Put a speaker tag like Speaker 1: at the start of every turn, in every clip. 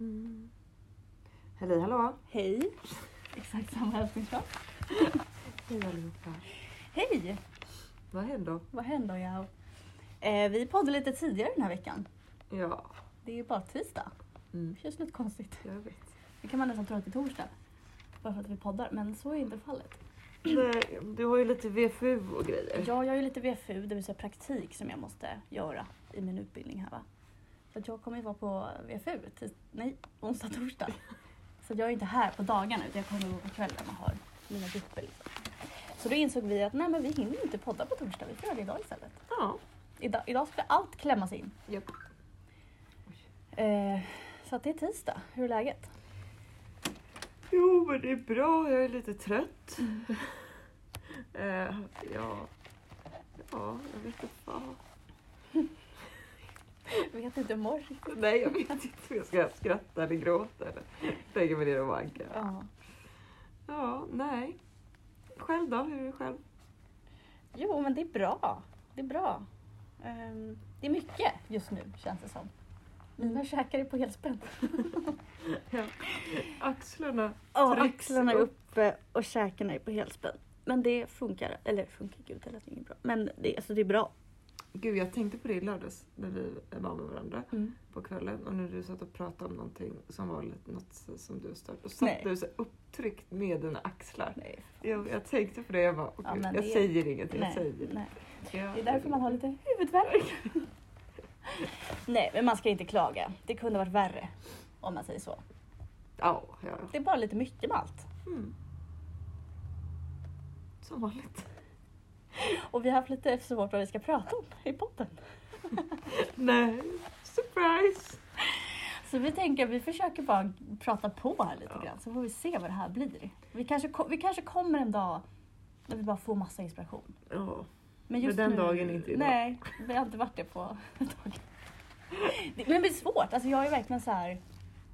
Speaker 1: Mm. Hej hallå!
Speaker 2: Hej! Exakt samma hälsningsfras.
Speaker 1: Hej allihopa!
Speaker 2: Hej!
Speaker 1: Vad händer?
Speaker 2: Vad händer jag? Eh, vi poddar lite tidigare den här veckan.
Speaker 1: Ja,
Speaker 2: Det är ju bara tisdag.
Speaker 1: mm.
Speaker 2: Det känns lite konstigt.
Speaker 1: jag vet.
Speaker 2: Det kan man nästan tro att det är torsdag. Bara för att vi poddar, men så är inte fallet.
Speaker 1: Nej, Du har ju lite VFU och grejer.
Speaker 2: Ja, jag har ju lite VFU, det vill säga praktik, som jag måste göra i min utbildning här va. Så att jag kommer ju vara på VFU, tis- nej, onsdag, torsdag. Så att jag är inte här på dagarna utan jag kommer vara på kvällen och har mina grupper. Liksom. Så då insåg vi att nej men vi hinner inte podda på torsdag, vi får göra det idag istället.
Speaker 1: Ja.
Speaker 2: Idag, idag skulle allt klämmas in.
Speaker 1: Japp.
Speaker 2: Eh, så att det är tisdag, hur är läget?
Speaker 1: Jo men det är bra, jag är lite trött. eh, ja. ja, jag vet inte fan.
Speaker 2: Jag vet inte, hur mår riktigt.
Speaker 1: Nej jag vet inte om jag ska skratta eller gråta eller lägga mig ner och vagga.
Speaker 2: Ja.
Speaker 1: Ja, nej. Själv då? Hur är du själv?
Speaker 2: Jo men det är bra, det är bra. Ehm, det är mycket just nu känns det som. Mina käkar är på helspänn.
Speaker 1: Axlarna.
Speaker 2: Ja,
Speaker 1: Trycks
Speaker 2: axlarna är
Speaker 1: upp.
Speaker 2: uppe och käkarna är på helspänn. Men det funkar, eller funkar gud, det lät inget bra. Men det, alltså det är bra.
Speaker 1: Gud jag tänkte på det i lördags när vi var med varandra.
Speaker 2: Mm.
Speaker 1: på kvällen och när du satt och pratade om någonting som var lite, något så- som du störde och satt
Speaker 2: Nej.
Speaker 1: du så här upptryckt med dina axlar.
Speaker 2: Nej.
Speaker 1: Jag, jag tänkte på det, jag bara, åh
Speaker 2: Ja,
Speaker 1: gud,
Speaker 2: men
Speaker 1: jag
Speaker 2: det-
Speaker 1: säger ingenting, jag
Speaker 2: Nej,
Speaker 1: säger
Speaker 2: nej.
Speaker 1: Ja.
Speaker 2: Det är därför man har lite huvudvärk. nej, men man ska inte klaga. Det kunde varit värre om man säger så.
Speaker 1: Ja, ja.
Speaker 2: Det är bara lite mycket med allt.
Speaker 1: Mm. Som vanligt.
Speaker 2: Och vi har haft lite svårt vad vi ska prata om i podden.
Speaker 1: Nej, surprise!
Speaker 2: Så vi tänker att vi försöker bara prata på här lite
Speaker 1: Ja.
Speaker 2: grann så får vi se vad det här blir. Vi kanske, ko- vi kanske kommer en dag när vi bara får massa inspiration.
Speaker 1: Ja,
Speaker 2: Men
Speaker 1: Men den dagen är inte idag.
Speaker 2: Nej, vi har inte varit det på ett tag. Det- Men det är svårt. Alltså jag är verkligen så här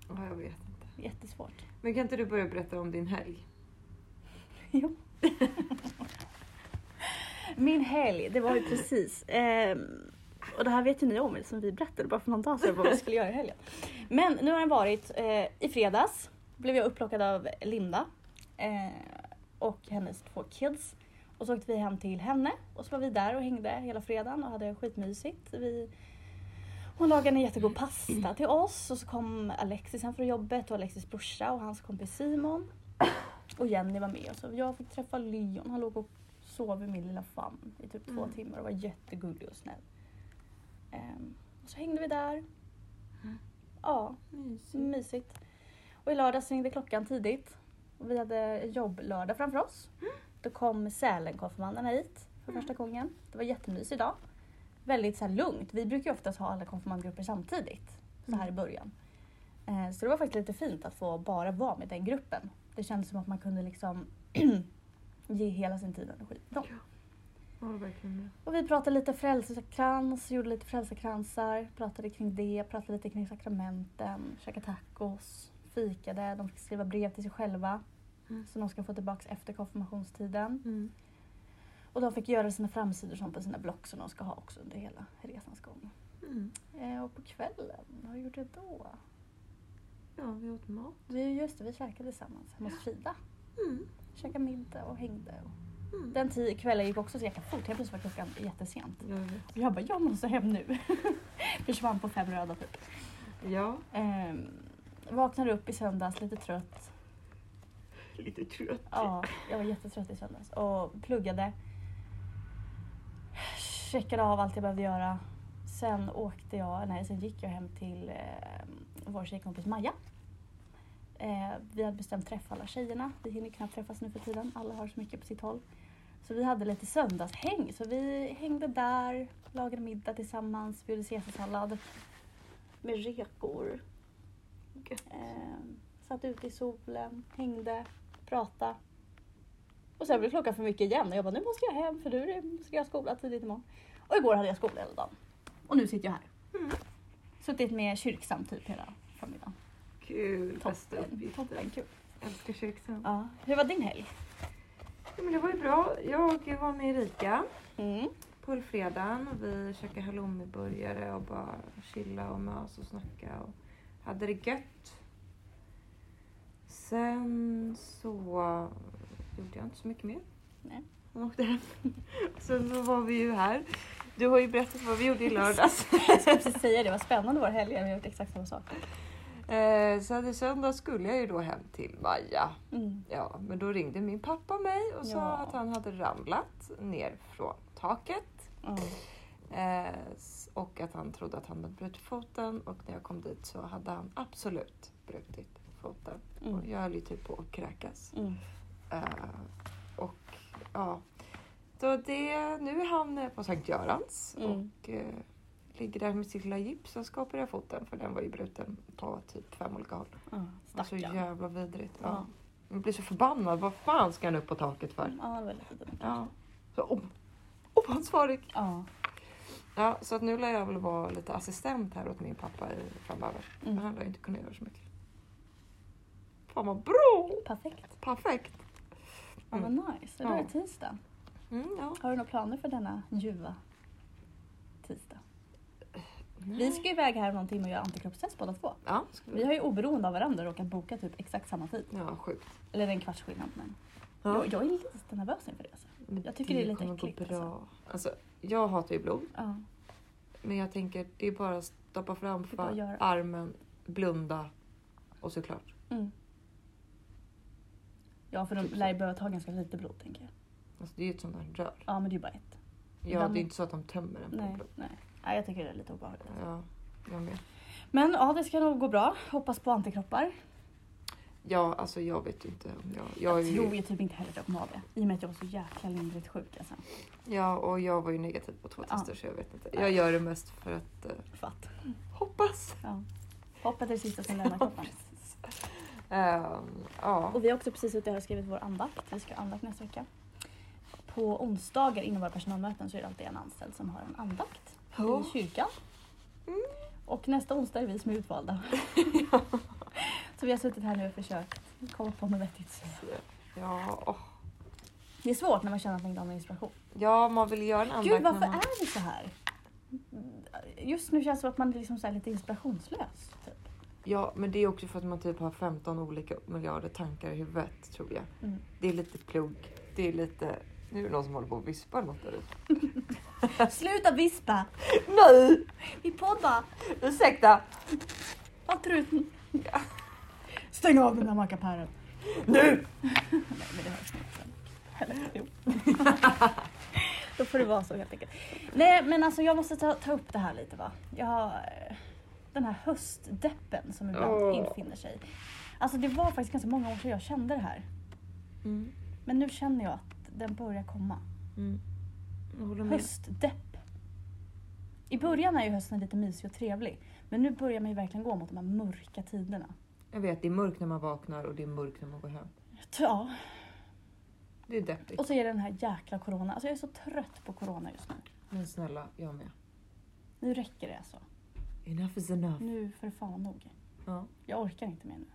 Speaker 1: ja, jag vet inte.
Speaker 2: jättesvårt.
Speaker 1: Men kan inte du börja berätta om din helg?
Speaker 2: Jo. Min helg, det var ju precis. ehm, och det här vet ju ni om som vi berättade bara för någon dag sedan vad vi skulle göra i helgen. Men nu har den varit eh, i fredags. Blev jag upplockad av Linda eh, och hennes två kids. Och så åkte vi hem till henne och så var vi där och hängde hela fredagen och hade skitmysigt. Vi, hon lagade en jättegod pasta till oss och så kom Alexis hem från jobbet och Alexis brorsa och hans kompis Simon. Och Jenny var med. Så jag fick träffa Leon. Han låg och sov i min lilla famn i typ två
Speaker 1: Mm.
Speaker 2: timmar och var jättegullig och snäll. Ehm, och så hängde vi där. Ja,
Speaker 1: Mysigt.
Speaker 2: mysigt. Och i lördags ringde klockan tidigt. Och vi hade jobblördag framför oss. Då kom Sälenkonfirmanderna hit för första gången. Det var jättemysigt idag. Väldigt så här lugnt. Vi brukar ju oftast ha alla konfirmandgrupper samtidigt. Så här i början. Eh, Så det var faktiskt lite fint att få bara vara med den gruppen. Det kändes som att man kunde liksom ge hela sin tid och energi till dem.
Speaker 1: Jag håller verkligen med.
Speaker 2: Och vi pratade lite frälsarkrans, gjorde lite frälsarkransar, pratade kring det, pratade lite kring sakramenten, käkade tacos, fikade, de fick skriva brev till sig själva
Speaker 1: Mm.
Speaker 2: som de ska få tillbaka efter konfirmationstiden. Och de fick göra sina framsidor som på sina block som de ska ha också under hela resans gång.
Speaker 1: Mm.
Speaker 2: Eh, och på kvällen, vad gjorde vi då?
Speaker 1: Ja, vi åt mat.
Speaker 2: Vi, just det, vi käkade tillsammans hemma hos Frida.
Speaker 1: Mm.
Speaker 2: Käkade middag och hängde. Och...
Speaker 1: Mm.
Speaker 2: Den tio kvällen gick också så jäkla fort, helt plötsligt var klockan jättesent.
Speaker 1: Jag vet.
Speaker 2: Jag bara, jag måste hem nu. Försvann på fem röda typ.
Speaker 1: Ja,
Speaker 2: Ehm, vaknade upp i söndags lite trött.
Speaker 1: lite trött.
Speaker 2: Ja, jag var jättetrött i söndags och pluggade. Checkade av allt jag behövde göra. Sen åkte jag, nej, sen gick jag hem till eh, vår tjejkompis Maja. Eh, vi hade bestämt träff alla tjejerna. Vi hinner knappt träffas nu för tiden. Alla har så mycket på sitt håll. Så vi hade lite söndagshäng. Så vi hängde där, lagade middag tillsammans, bjöd caesarsallad med rekor.
Speaker 1: Gött.
Speaker 2: Eh, satt ute i solen, hängde, pratade. Och sen blev klockan för mycket igen och jag bara nu måste jag hem för nu ska jag ha skola tidigt imorgon. Och igår hade jag skola hela dagen. Och nu sitter jag här.
Speaker 1: Mm.
Speaker 2: Suttit med kyrksam typ hela förmiddagen.
Speaker 1: Kul, bästa
Speaker 2: Toppen,
Speaker 1: uppgiften.
Speaker 2: toppen kul.
Speaker 1: Älskar kyrksam.
Speaker 2: Ja. Hur var din helg?
Speaker 1: Ja, men det var ju bra. Jag var med Erika
Speaker 2: Mm.
Speaker 1: på fredagen. Vi käkade halloumiburgare och bara chilla och mös och snacka. Och hade det gött. sen så gjorde jag inte så mycket mer.
Speaker 2: Nej.
Speaker 1: Han åkte hem. Sen då var vi ju här. Du har ju berättat vad vi gjorde i lördags.
Speaker 2: Jag skulle precis säga det, vad spännande vår helg är. Vi har gjort exakt samma sak.
Speaker 1: Eh, så hade söndag skulle jag ju då hem till Maja.
Speaker 2: Mm.
Speaker 1: Ja, men då ringde min pappa mig och sa
Speaker 2: Ja.
Speaker 1: att han hade ramlat ner från taket
Speaker 2: Ja.
Speaker 1: eh, s- och att han trodde att han hade brutit foten och när jag kom dit så hade han absolut brutit foten. Och
Speaker 2: Mm.
Speaker 1: jag höll ju typ på att kräkas.
Speaker 2: Mm.
Speaker 1: Eh, och ja, så det, nu är han eh, på Sankt Görans
Speaker 2: Mm.
Speaker 1: och eh, ligger där med sitt lilla gips och skapar i foten för den var ju bruten på typ fem olika håll.
Speaker 2: Ja,
Speaker 1: Det var så
Speaker 2: Stackarn.
Speaker 1: jävla vidrigt. Alltså, Ja.
Speaker 2: Ja.
Speaker 1: Man blir så förbannad. Vad fan ska han upp på taket för?
Speaker 2: Ja, det var lite dumt.
Speaker 1: Ja. Så o- oansvarig.
Speaker 2: Ja.
Speaker 1: Ja, så att nu lär jag väl vara lite assistent här åt min pappa i, framöver. Men
Speaker 2: Mm.
Speaker 1: han lär inte kunna göra så mycket. Fan vad bra!
Speaker 2: Perfekt.
Speaker 1: Perfekt!
Speaker 2: Ja, vad nice. Idag är
Speaker 1: Mm. Ja.
Speaker 2: det tisdag.
Speaker 1: Mm, ja.
Speaker 2: Har du några planer för denna ljuva tisdag?
Speaker 1: Mm.
Speaker 2: Vi ska ju iväg här om någon timme och göra antikroppstest båda två.
Speaker 1: Ja, ska
Speaker 2: Vi
Speaker 1: vi.
Speaker 2: har ju oberoende av varandra råkat boka typ exakt samma tid.
Speaker 1: Ja, sjukt.
Speaker 2: Eller en kvarts skillnad. Men
Speaker 1: Ja.
Speaker 2: jag, jag är lite nervös inför det. Alltså.
Speaker 1: Men
Speaker 2: jag tycker det är lite
Speaker 1: kommer gå
Speaker 2: äckligt,
Speaker 1: Bra. Alltså, jag hatar ju blod,
Speaker 2: Ja.
Speaker 1: men jag tänker det är bara att stoppa
Speaker 2: Det är bara att
Speaker 1: framför
Speaker 2: göra.
Speaker 1: armen, blunda och såklart.
Speaker 2: Mm. Ja, för de
Speaker 1: Typ
Speaker 2: lär ju behöva ta ganska lite blod tänker jag.
Speaker 1: Alltså, det är ju ett sånt här rör.
Speaker 2: Ja, men det är ju bara ett.
Speaker 1: Ja,
Speaker 2: Ibland-
Speaker 1: det är inte så att de tömmer en på
Speaker 2: Nej,
Speaker 1: blod.
Speaker 2: nej. nej jag tycker det är lite obehagligt. alltså.
Speaker 1: Ja, jag med.
Speaker 2: Men ja, det ska nog gå bra. Hoppas på antikroppar.
Speaker 1: Ja, alltså jag vet inte om jag... Jag,
Speaker 2: Jag,
Speaker 1: är
Speaker 2: tror
Speaker 1: ju,
Speaker 2: ju typ inte heller att jag kommer ha det. I och med att jag var så jäkla lindrigt sjuk alltså.
Speaker 1: ja, och jag var ju negativ på två
Speaker 2: Ja.
Speaker 1: tester så jag vet inte. Jag gör det mest för att eh,
Speaker 2: Fatt.
Speaker 1: hoppas.
Speaker 2: Ja. Hoppet är det sista som lämnar kroppen.
Speaker 1: Ehm, ja.
Speaker 2: Och vi har också precis suttit här och skrivit vår andakt. Vi ska ha andakt nästa vecka. På onsdagar innan våra personalmöten så är det alltid en anställd som har en andakt
Speaker 1: Ja.
Speaker 2: i kyrkan.
Speaker 1: Mm.
Speaker 2: Och nästa onsdag är det vi som är utvalda. så vi har suttit här nu och försökt komma på något vettigt. att säga.
Speaker 1: Ja, åh.
Speaker 2: Det är svårt när man känner att man inte har någon inspiration.
Speaker 1: ja, man vill göra en andakt.
Speaker 2: Gud, varför
Speaker 1: när man...
Speaker 2: är det så här? Just nu känns det som att man är liksom så här lite inspirationslös. Typ.
Speaker 1: Ja, men det är också för att man typ har 15 olika miljarder tankar i huvudet tror jag.
Speaker 2: Mm.
Speaker 1: Det är lite plugg. Det är lite... Nu är det någon som håller på och vispar något där ute.
Speaker 2: typ. Sluta vispa!
Speaker 1: Nej!
Speaker 2: Vi poddar!
Speaker 1: Ursäkta!
Speaker 2: Vad truten! Stäng av den där mackapären!
Speaker 1: Nu!
Speaker 2: Nej, men det hörs inte. Eller, jo. Då får det vara så helt enkelt. Nej, men alltså jag måste ta, ta upp det här lite va. Jag har eh, den här höstdeppen som ibland
Speaker 1: Åh.
Speaker 2: infinner sig. Alltså det var faktiskt ganska många år sedan jag kände det här.
Speaker 1: Mm.
Speaker 2: Men nu känner jag att den börjar komma.
Speaker 1: Mm. Jag håller
Speaker 3: Mm.
Speaker 1: med.
Speaker 2: Höstdepp. I början är ju hösten lite mysig och trevlig. Men nu börjar man ju verkligen gå mot de här mörka tiderna.
Speaker 1: Jag vet, det är mörkt när man vaknar och det är mörkt när man går hem.
Speaker 2: Ja,
Speaker 1: Det är deppigt.
Speaker 2: och så är det den här jäkla corona. Alltså jag är så trött på corona just nu.
Speaker 1: Men snälla, jag med.
Speaker 2: Nu räcker det alltså.
Speaker 1: Enough is enough.
Speaker 2: Nu för fan nog.
Speaker 1: Ja.
Speaker 2: Jag orkar inte mer nu.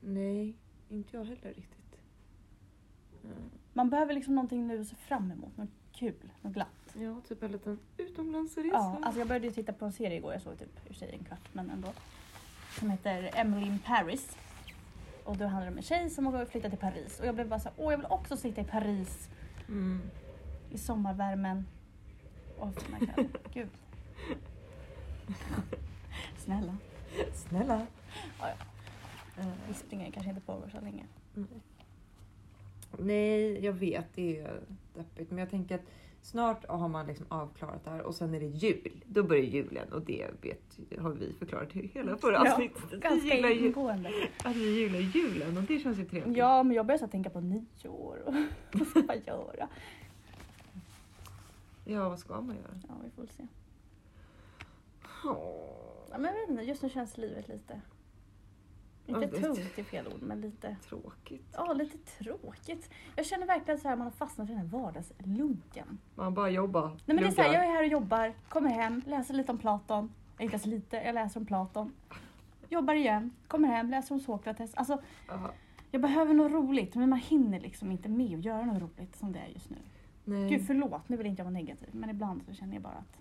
Speaker 1: Nej, inte jag heller riktigt. Mm.
Speaker 2: Man behöver liksom någonting nu att se fram emot. Något kul, något glatt.
Speaker 1: Ja, typ en liten utomlandsresa.
Speaker 2: Ja, alltså jag började ju titta på en serie igår. Jag såg typ i och för sig en kvart, men ändå. Som heter Emily in Paris. Och då handlar det om en tjej som har flyttat till Paris. Och jag blev bara så här, åh jag vill också sitta i Paris
Speaker 1: Mm.
Speaker 2: i sommarvärmen. Åh, fina kläder. Gud. Snälla.
Speaker 1: Snälla.
Speaker 2: Ja, ja.
Speaker 1: Eh,
Speaker 2: Vi springer kanske inte pågår så länge.
Speaker 1: Nej, jag vet. Det är deppigt. Men jag tänker att snart har man liksom avklarat det här och sen är det jul. Då börjar julen och det vet, har vi förklarat i hela förra
Speaker 2: Ja,
Speaker 1: avsnittet. vi
Speaker 2: Ganska
Speaker 1: gillar ju,
Speaker 2: ingående.
Speaker 1: att vi gillar julen och det känns ju trevligt.
Speaker 2: Ja, men jag börjar så här tänka på nyår och vad ska man göra?
Speaker 1: ja, vad ska man göra?
Speaker 2: Ja, vi får väl se.
Speaker 1: Åh,
Speaker 2: Ja, men jag vet inte, just nu känns livet lite... Inte
Speaker 1: Ja, det-
Speaker 2: tungt är fel ord, men lite...
Speaker 1: tråkigt.
Speaker 2: Ja, lite tråkigt. Jag känner verkligen så här, man har fastnat i den här vardagslunken.
Speaker 1: Man bara jobbar.
Speaker 2: Nej men det är så här,
Speaker 1: luggar.
Speaker 2: jag är här och jobbar, kommer hem, läser lite om Platon. Inte ens lite, jag läser om Platon. Jobbar igen, kommer hem, läser om Sokrates. Alltså,
Speaker 1: Ja,
Speaker 2: jag behöver något roligt, men man hinner liksom inte med att göra något roligt som det är just nu.
Speaker 1: Mm. nej.
Speaker 2: Gud förlåt, nu vill inte jag vara negativ, men ibland så känner jag bara att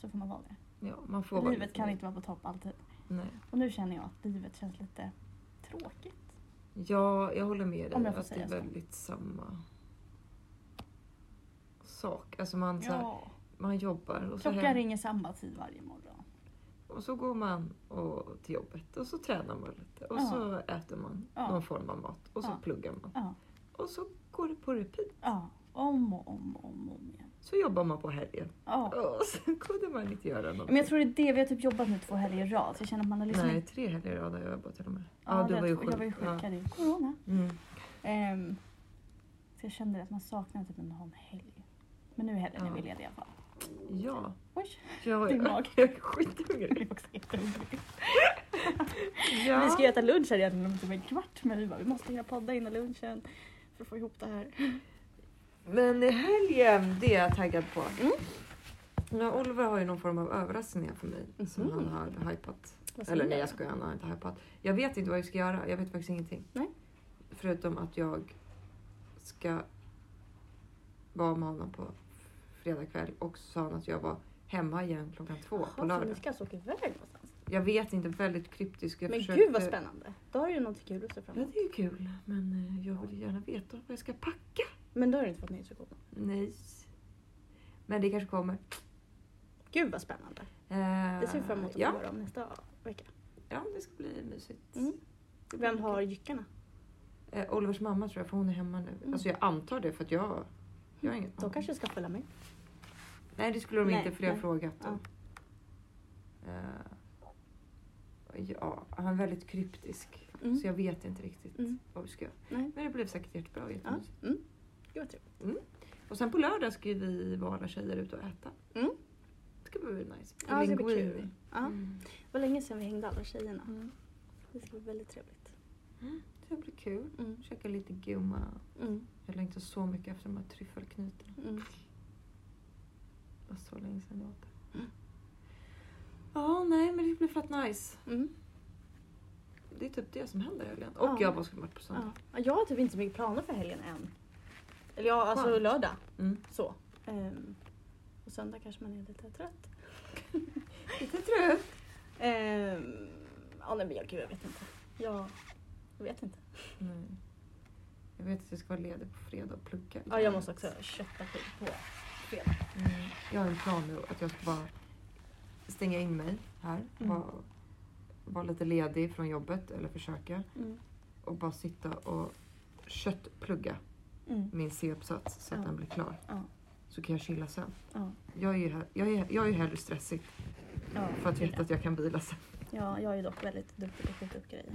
Speaker 2: så får man vara det.
Speaker 1: ja, man får vara
Speaker 2: Livet
Speaker 1: lite-
Speaker 2: kan inte vara på topp alltid.
Speaker 1: Nej.
Speaker 2: Och nu känner jag att livet känns lite tråkigt.
Speaker 1: Ja, jag håller med dig.
Speaker 2: Om jag får
Speaker 1: att det
Speaker 2: säga
Speaker 1: är
Speaker 2: så.
Speaker 1: väldigt samma sak. Alltså man, så här,
Speaker 2: Ja.
Speaker 1: man jobbar och så,
Speaker 2: Klockan
Speaker 1: hem,
Speaker 2: ringer samma tid varje morgon.
Speaker 1: och så går man och, till jobbet och så tränar man lite och
Speaker 2: Ja.
Speaker 1: så äter man
Speaker 2: Ja.
Speaker 1: någon form av mat och så
Speaker 2: Ja.
Speaker 1: pluggar man.
Speaker 2: Ja.
Speaker 1: Och så går det på repeat.
Speaker 2: ja. Om och om och om, och om igen.
Speaker 1: Så jobbar man på helgen.
Speaker 2: Ja.
Speaker 1: Och sen kunde man inte göra någonting.
Speaker 2: Men jag tror det är det, vi har typ jobbat nu två helger i rad. Så jag känner att man har liksom...
Speaker 1: Nej, tre helger i rad har jag jobbat till och med. Ja,
Speaker 2: Ja,
Speaker 1: du
Speaker 2: det-
Speaker 1: var ju
Speaker 2: Jag var ju
Speaker 1: Ja.
Speaker 2: sjuk, ja. det är corona.
Speaker 1: Mm.
Speaker 2: Ehm, så jag kände att man saknade typ en någon helg. Men nu är helgen
Speaker 1: Ja.
Speaker 2: vi ledig i alla fall.
Speaker 1: Ja,
Speaker 2: Oj,
Speaker 1: jag,
Speaker 2: Din mag.
Speaker 1: jag är skithungrig.
Speaker 2: jag är också jättehungrig.
Speaker 1: Ja.
Speaker 2: Vi ska ju äta lunch här redan om typ en kvart men vi bara, vi måste hinna podda innan lunchen för att få ihop det här.
Speaker 1: Men i helgen, det är jag taggad på.
Speaker 2: Mm.
Speaker 1: Ja, Oliver har ju någon form av överraskningar för mig som
Speaker 2: Mhm.
Speaker 1: han har hypat.
Speaker 2: Vad ska
Speaker 1: Eller
Speaker 2: vi
Speaker 1: nej,
Speaker 2: göra?
Speaker 1: jag skojar, han har inte hypat. Jag vet inte vad jag ska göra. Jag vet faktiskt ingenting.
Speaker 2: Nej.
Speaker 1: Förutom att jag ska vara med honom på fredag kväll och så sa han att jag var hemma igen klockan två på
Speaker 2: Jaha, så ni
Speaker 1: lördag.
Speaker 2: ska alltså åka iväg någonstans?
Speaker 1: Jag vet inte, väldigt kryptisk. Jag
Speaker 2: men
Speaker 1: försökte-
Speaker 2: gud vad spännande! Då har du ju någonting kul att se fram
Speaker 1: Ja,
Speaker 2: emot.
Speaker 1: det är ju kul. Men eh, jag vill gärna veta vad jag ska packa.
Speaker 2: Men då har du inte fått någon instruktion.
Speaker 1: Nej. Men det kanske kommer.
Speaker 2: Gud vad spännande!
Speaker 1: Eh,
Speaker 2: Det ser vi fram emot att
Speaker 1: ja.
Speaker 2: få höra om nästa vecka.
Speaker 1: ja, det ska bli mysigt.
Speaker 2: Mm.
Speaker 1: Det blir
Speaker 2: Vem har
Speaker 1: kul.
Speaker 2: jyckarna?
Speaker 1: Eh, Olivers mamma tror jag, för hon är hemma nu.
Speaker 2: Mm.
Speaker 1: Alltså jag antar det för att jag... Jag har ingen
Speaker 2: De
Speaker 1: aning.
Speaker 2: kanske ska följa med?
Speaker 1: Nej, det skulle de
Speaker 2: Nej,
Speaker 1: inte för det har jag
Speaker 2: nej.
Speaker 1: frågat dem. Eh, ja, han är väldigt kryptisk.
Speaker 2: Mm.
Speaker 1: Så jag vet inte riktigt
Speaker 2: Mm.
Speaker 1: vad vi ska göra.
Speaker 2: Nej.
Speaker 1: Men det blev säkert jättebra och
Speaker 2: Ja.
Speaker 1: jättemysigt.
Speaker 2: Mm. Gud vad trevligt.
Speaker 1: Och sen på lördag ska ju vi vara alla tjejer ut och äta.
Speaker 2: Mm.
Speaker 1: Det ska bli nice.
Speaker 2: Ja, det ska bli
Speaker 1: Linguini.
Speaker 2: kul. Ja.
Speaker 1: Mm.
Speaker 2: Det var länge sedan vi hängde alla tjejerna.
Speaker 1: Mm.
Speaker 2: Det ska bli väldigt trevligt.
Speaker 1: Det blir kul.
Speaker 2: Mm.
Speaker 1: Käka lite gumma.
Speaker 2: Mm.
Speaker 1: Jag längtar så mycket efter de här tryffelknutarna.
Speaker 2: Mm.
Speaker 1: Det var så länge sedan jag åt det.
Speaker 2: Mm.
Speaker 1: Ja, nej, men det blir fett nice.
Speaker 2: Mm.
Speaker 1: Det är typ det som händer i helgen. Och
Speaker 2: Ja.
Speaker 1: jag bara skulle varit på
Speaker 2: Ja.
Speaker 1: söndag.
Speaker 2: Ja, Jag har typ inte så mycket planer för helgen än. Eller ja, alltså
Speaker 1: Skönt.
Speaker 2: lördag.
Speaker 1: Mm.
Speaker 2: Så. Ehm, och söndag kanske man är lite trött.
Speaker 1: Lite trött.
Speaker 2: Ehm, ja, nej men jag, gud, jag vet inte. Jag, jag vet inte.
Speaker 1: Nej. Jag vet att jag ska vara ledig på fredag och plugga.
Speaker 2: Ja, jag måste också köpa tid på fredag.
Speaker 1: Mm. Jag har en plan nu att jag ska bara stänga in mig här.
Speaker 2: Mm.
Speaker 1: Vara, vara lite ledig från jobbet, eller försöka.
Speaker 2: Mm.
Speaker 1: Och bara sitta och köttplugga
Speaker 2: Mm.
Speaker 1: min C-uppsats så att
Speaker 2: Ja.
Speaker 1: den blir klar.
Speaker 2: Ja.
Speaker 1: Så kan jag chilla sen.
Speaker 2: Ja.
Speaker 1: Jag är ju, he- jag är, jag är ju hellre stressig
Speaker 2: Ja,
Speaker 1: för att
Speaker 2: chilla.
Speaker 1: veta att jag kan vila sen.
Speaker 2: ja, jag är ju dock väldigt duktig på att skjuta upp grejer.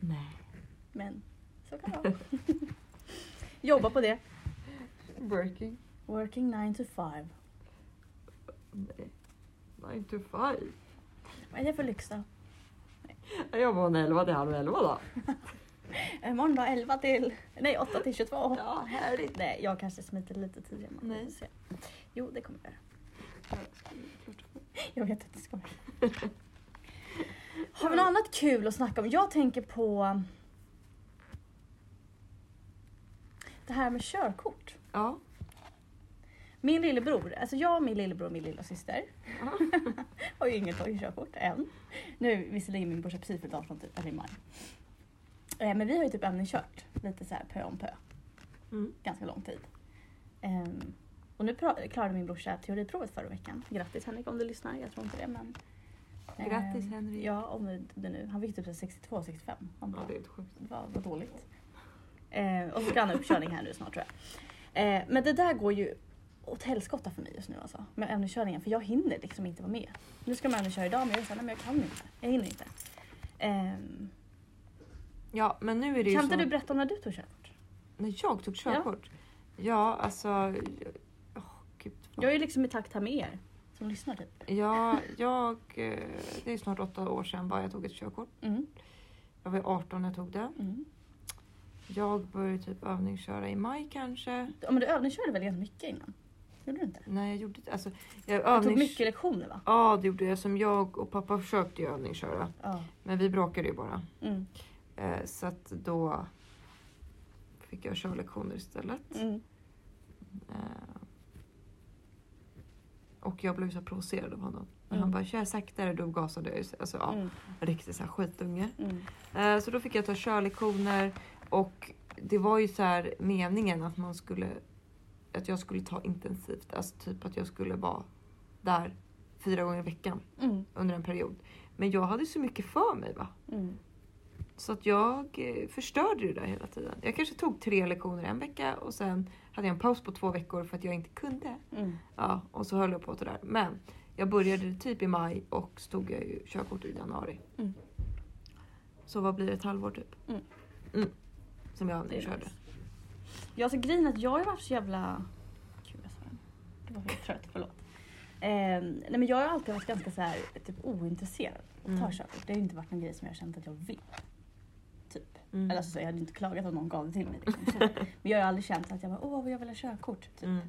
Speaker 1: Nej.
Speaker 2: Men så kan det vara. Jobba på det.
Speaker 1: Working.
Speaker 2: Working 9 to 5.
Speaker 1: Nej. 9 to 5.
Speaker 2: Vad är det för lyx då?
Speaker 1: Jag var en 11 till halv 11 då.
Speaker 2: Imorgon då 11 till... Nej 8 till 22.
Speaker 1: Ja, härligt.
Speaker 2: Nej jag kanske smiter lite tidigare. imorgon.
Speaker 1: Nej.
Speaker 2: Vi får se. Jo det kommer jag göra. Jag vet att det ska vara. Har vi något annat kul att snacka om? Jag tänker på det här med körkort.
Speaker 1: Ja.
Speaker 2: Min lillebror, alltså jag, min lillebror och min lillasyster
Speaker 1: Ja.
Speaker 2: har ju inget tagit körkort än. Nu visserligen min brorsa precis fyllt 18 typ, eller i maj. Eh, Men vi har ju typ övningskört lite så här pö om pö.
Speaker 1: Mm.
Speaker 2: ganska lång tid. Ehm, och nu pra- klarade min brorsa teoriprovet förra veckan. Grattis Henrik om du lyssnar, jag tror inte det men. ehm,
Speaker 1: Grattis, Henrik.
Speaker 2: Ja, om det- det nu. Han fick typ 62-65. Han
Speaker 1: ja,
Speaker 2: bara,
Speaker 1: det är ett sjukt.
Speaker 2: vad, vad dåligt. Ehm, och så ska han ha uppkörning här nu snart tror jag. Ehm, men det där går ju åt helskotta för mig just nu alltså. Med övningskörningen, för jag hinner liksom inte vara med. Nu ska de övningsköra idag men jag säger nej men jag kan inte. Jag hinner inte. Ehm,
Speaker 1: Ja, men nu är det ju
Speaker 2: kan inte
Speaker 1: så...
Speaker 2: du berätta om när du tog körkort?
Speaker 1: När jag tog körkort? Ja, alltså... åh, gud, vad-
Speaker 2: Jag är ju liksom i takt här med er som lyssnar typ.
Speaker 1: Ja, jag... eh, Det är snart åtta år sedan bara jag tog ett körkort.
Speaker 2: Mm,
Speaker 1: Jag var 18 när jag tog det.
Speaker 2: mm.
Speaker 1: Jag började typ övningsköra i maj kanske.
Speaker 2: Ja, men du övningskörde väl ganska mycket innan? Gjorde du inte?
Speaker 1: Nej, jag gjorde det. Alltså, jag
Speaker 2: Du tog
Speaker 1: övnings...
Speaker 2: mycket lektioner va?
Speaker 1: Ja, det gjorde jag. Som jag och pappa försökte ju övningsköra.
Speaker 2: Ja.
Speaker 1: Men vi bråkade ju bara.
Speaker 2: Mm.
Speaker 1: Eh, Så att då fick jag körlektioner istället.
Speaker 2: Mm.
Speaker 1: Eh, Och jag blev så provocerad av honom.
Speaker 3: Men
Speaker 2: Mm.
Speaker 3: han bara kör saktare, då gasade jag ju. Alltså, ja,
Speaker 2: Mm,
Speaker 3: Riktigt så här skitunge.
Speaker 2: mm,
Speaker 3: Eh, Så då fick jag ta körlektioner och det var ju så här meningen att man skulle att jag skulle ta intensivt, alltså typ att jag skulle vara där fyra gånger i veckan
Speaker 2: mm,
Speaker 3: under en period. Men jag hade så mycket för mig va?
Speaker 2: mm.
Speaker 3: Så att jag eh, förstörde det där hela tiden. Jag kanske tog tre lektioner en vecka och sen hade jag en paus på två veckor för att jag inte kunde.
Speaker 2: Mm.
Speaker 3: Ja, och så höll jag på sådär. Men jag började typ i maj och så tog jag ju körkort i januari.
Speaker 2: Mm.
Speaker 3: Så vad blir det, ett halvår typ?
Speaker 2: Mm.
Speaker 3: Mm. Som jag
Speaker 2: Det är
Speaker 3: aldrig körde.
Speaker 2: nice. Ja, alltså grejen är att jag har varit så jävla... Gud, jag sa den. Jag var helt trött, förlåt. Eh, nej men jag har alltid varit ganska så här, typ ointresserad av att ta
Speaker 3: Mm.
Speaker 2: körkort. Det har ju inte varit någon grej som jag har känt att jag vill. Typ.
Speaker 3: Mm.
Speaker 2: Eller alltså, så jag hade inte klagat om någon gav det till mig. Liksom. så. men jag har ju aldrig känt att jag bara, åh vad jag vill ha körkort. Typ.
Speaker 3: Mm.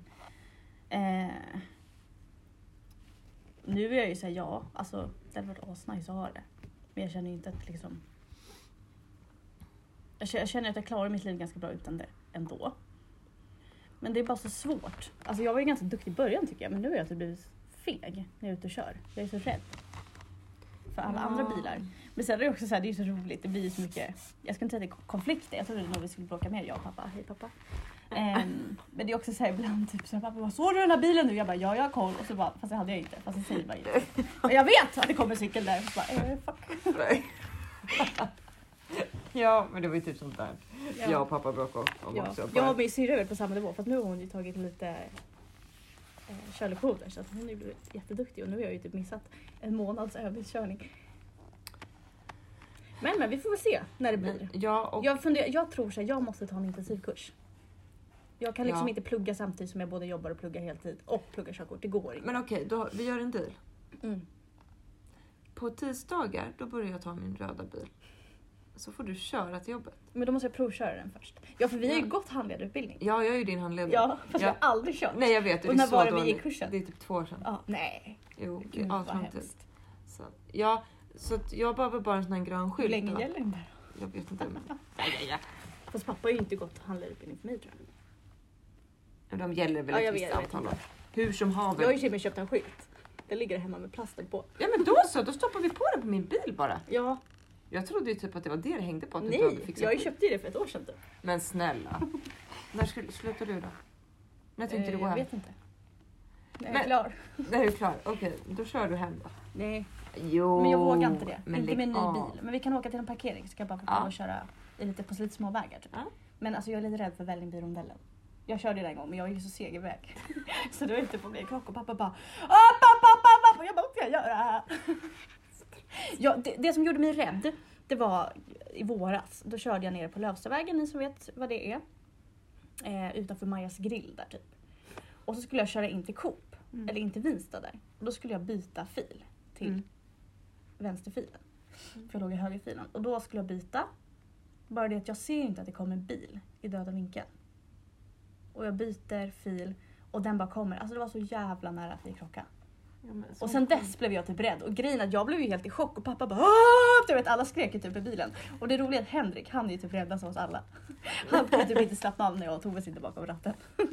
Speaker 2: Eh, nu är jag ju såhär, ja, alltså det hade varit asnice att ha det. Men jag känner ju inte att liksom... Jag kä- jag känner att jag klarar mitt liv ganska bra utan det ändå. Men det är bara så svårt. Alltså jag var ju ganska duktig i början tycker jag, men nu har jag typ blivit feg när jag är ute och kör. Jag är så rädd. För alla andra
Speaker 3: Ja.
Speaker 2: bilar. Men sen är det också så här, det är ju så roligt, det blir ju så mycket, jag ska inte säga att det är konflikter, jag trodde nog vi skulle bråka mer jag och pappa. Hej pappa. Ehm, men det är också så här ibland typ så här, pappa bara, såg du den här bilen nu? Jag bara, ja jag har koll. Och så bara, fast det hade jag inte. Fast det säger man ju inte. Men jag vet att det kommer en cykel där. Och så bara, eh, fuck.
Speaker 3: Nej. ja, men det var ju typ sånt där.
Speaker 2: Ja.
Speaker 3: Jag och pappa bråkade om
Speaker 2: Ja.
Speaker 3: också.
Speaker 2: Jag
Speaker 3: Bara,
Speaker 2: och min syrra är väl på samma nivå fast nu har hon ju tagit lite eh, körlektioner så att hon har ju blivit jätteduktig och nu har jag ju typ missat en månads övningskörning. Men men vi får väl se när det blir.
Speaker 3: ja, och,
Speaker 2: Jag, funderar, jag tror så här, jag måste ta en intensivkurs. Jag kan liksom
Speaker 3: Ja.
Speaker 2: inte plugga samtidigt som jag både jobbar och pluggar heltid och pluggar körkort. Det går inte.
Speaker 3: Men okej, då, vi gör en deal.
Speaker 2: Mm.
Speaker 3: På tisdagar då börjar jag ta min röda bil. Så får du köra till jobbet.
Speaker 2: Men då måste jag provköra den först. Ja för vi har ju
Speaker 3: Ja.
Speaker 2: gått handledarutbildning.
Speaker 3: Ja, jag är ju din handledare.
Speaker 2: Ja, fast jag
Speaker 3: Ja.
Speaker 2: har aldrig kört.
Speaker 3: Nej, jag vet.
Speaker 2: Och när
Speaker 3: är så
Speaker 2: var det vi
Speaker 3: dåligt.
Speaker 2: gick kursen?
Speaker 3: Det är typ två år sedan.
Speaker 2: Ja, nej.
Speaker 3: Jo, det
Speaker 2: Gud,
Speaker 3: är
Speaker 2: vad
Speaker 3: asframtid.
Speaker 2: hemskt.
Speaker 3: Så, ja, så att jag behöver bara en sån här grön
Speaker 2: Hur
Speaker 3: skylt.
Speaker 2: länge
Speaker 3: då.
Speaker 2: gäller den där?
Speaker 3: Jag vet inte. Men... Ja, ja,
Speaker 2: Fast pappa har ju inte gått handlarutbildning för mig tror jag.
Speaker 3: ja. De gäller väl
Speaker 2: Ja, jag
Speaker 3: ett
Speaker 2: vet,
Speaker 3: visst
Speaker 2: jag vet
Speaker 3: antal
Speaker 2: inte.
Speaker 3: år. Hur som
Speaker 2: Jag har ju
Speaker 3: haver.
Speaker 2: till och med köpt en skylt. Den ligger hemma med plasten på.
Speaker 3: Ja men då så, då stoppar vi på den på min bil bara.
Speaker 2: Ja,
Speaker 3: Jag trodde ju typ att det var det det hängde på. Att du inte hade
Speaker 2: nej.
Speaker 3: fixat
Speaker 2: Jag har ju
Speaker 3: det.
Speaker 2: köpt det för ett år sedan typ.
Speaker 3: Men snälla. När skulle, slutar du då? När tänkte
Speaker 2: Eh,
Speaker 3: du gå
Speaker 2: Jag
Speaker 3: hem?
Speaker 2: vet inte. Nej, jag är
Speaker 3: Men-
Speaker 2: klar.
Speaker 3: När är du klar? Okej, då kör du hem då.
Speaker 2: Nej,
Speaker 3: Jo.
Speaker 2: men jag vågar inte det. inte
Speaker 3: lägg
Speaker 2: med en ny
Speaker 3: av.
Speaker 2: bil. Men vi kan åka till en parkering så kan jag bara få
Speaker 3: Ja.
Speaker 2: prova att köra i lite, på lite små vägar typ.
Speaker 3: Ja.
Speaker 2: Men alltså jag är lite rädd för Vällingby-rondellen. Jag körde ju den en gång men jag är ju så seg iväg. så det var inte på mig klock och pappa bara "Ah, pappa, pappa, pappa. Jag bara vad ska jag göra? ja, det, det som gjorde mig rädd det var i våras. Då körde jag ner på Lövstavägen, ni som vet vad det är. Eh, utanför Majas grill där typ. Och så skulle jag köra in till Coop,
Speaker 3: Mm.
Speaker 2: eller in till Vinsta där. Och då skulle jag byta fil till
Speaker 3: Mm.
Speaker 2: vänsterfilen. För jag låg i högerfilen. Och då skulle jag byta. Bara det att jag ser inte att det kommer en bil i döda vinkeln. Och jag byter fil och den bara kommer. Alltså det var så jävla nära att vi krockade.
Speaker 3: Ja, men så-
Speaker 2: Och sen dess blev jag typ rädd och grejen är att jag blev ju helt i chock och pappa bara Åh! Du vet alla skrek ju typ i bilen. Och det roliga är att Henrik han är ju typ räddast av oss alla. Han kunde typ inte slappna av när jag och Tove sitter bakom ratten.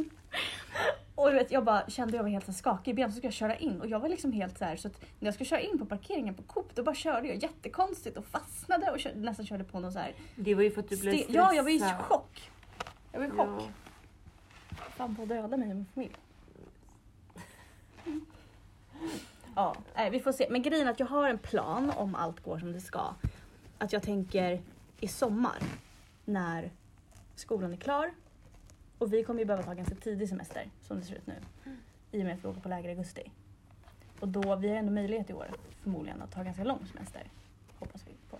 Speaker 2: Och du vet jag bara kände jag var helt så här skakig i benen så skulle jag köra in och jag var liksom helt så här så att när jag skulle köra in på parkeringen på Coop då bara körde jag jättekonstigt och fastnade och kö- nästan körde på någon så här.
Speaker 3: Det var ju för att du blev
Speaker 2: sten-
Speaker 3: stressad.
Speaker 2: Ja jag var ju i chock. Jag var i chock.
Speaker 3: Ja.
Speaker 2: Fan på att döda mig och min familj. Ja, nej, vi får se. Men grejen är att jag har en plan om allt går som det ska. Att jag tänker i sommar när skolan är klar och vi kommer ju behöva ta ganska tidig semester som det ser ut nu i och med att vi åker på läger i augusti. Och då, vi har ändå möjlighet i år förmodligen att ta ganska lång semester. Hoppas vi på.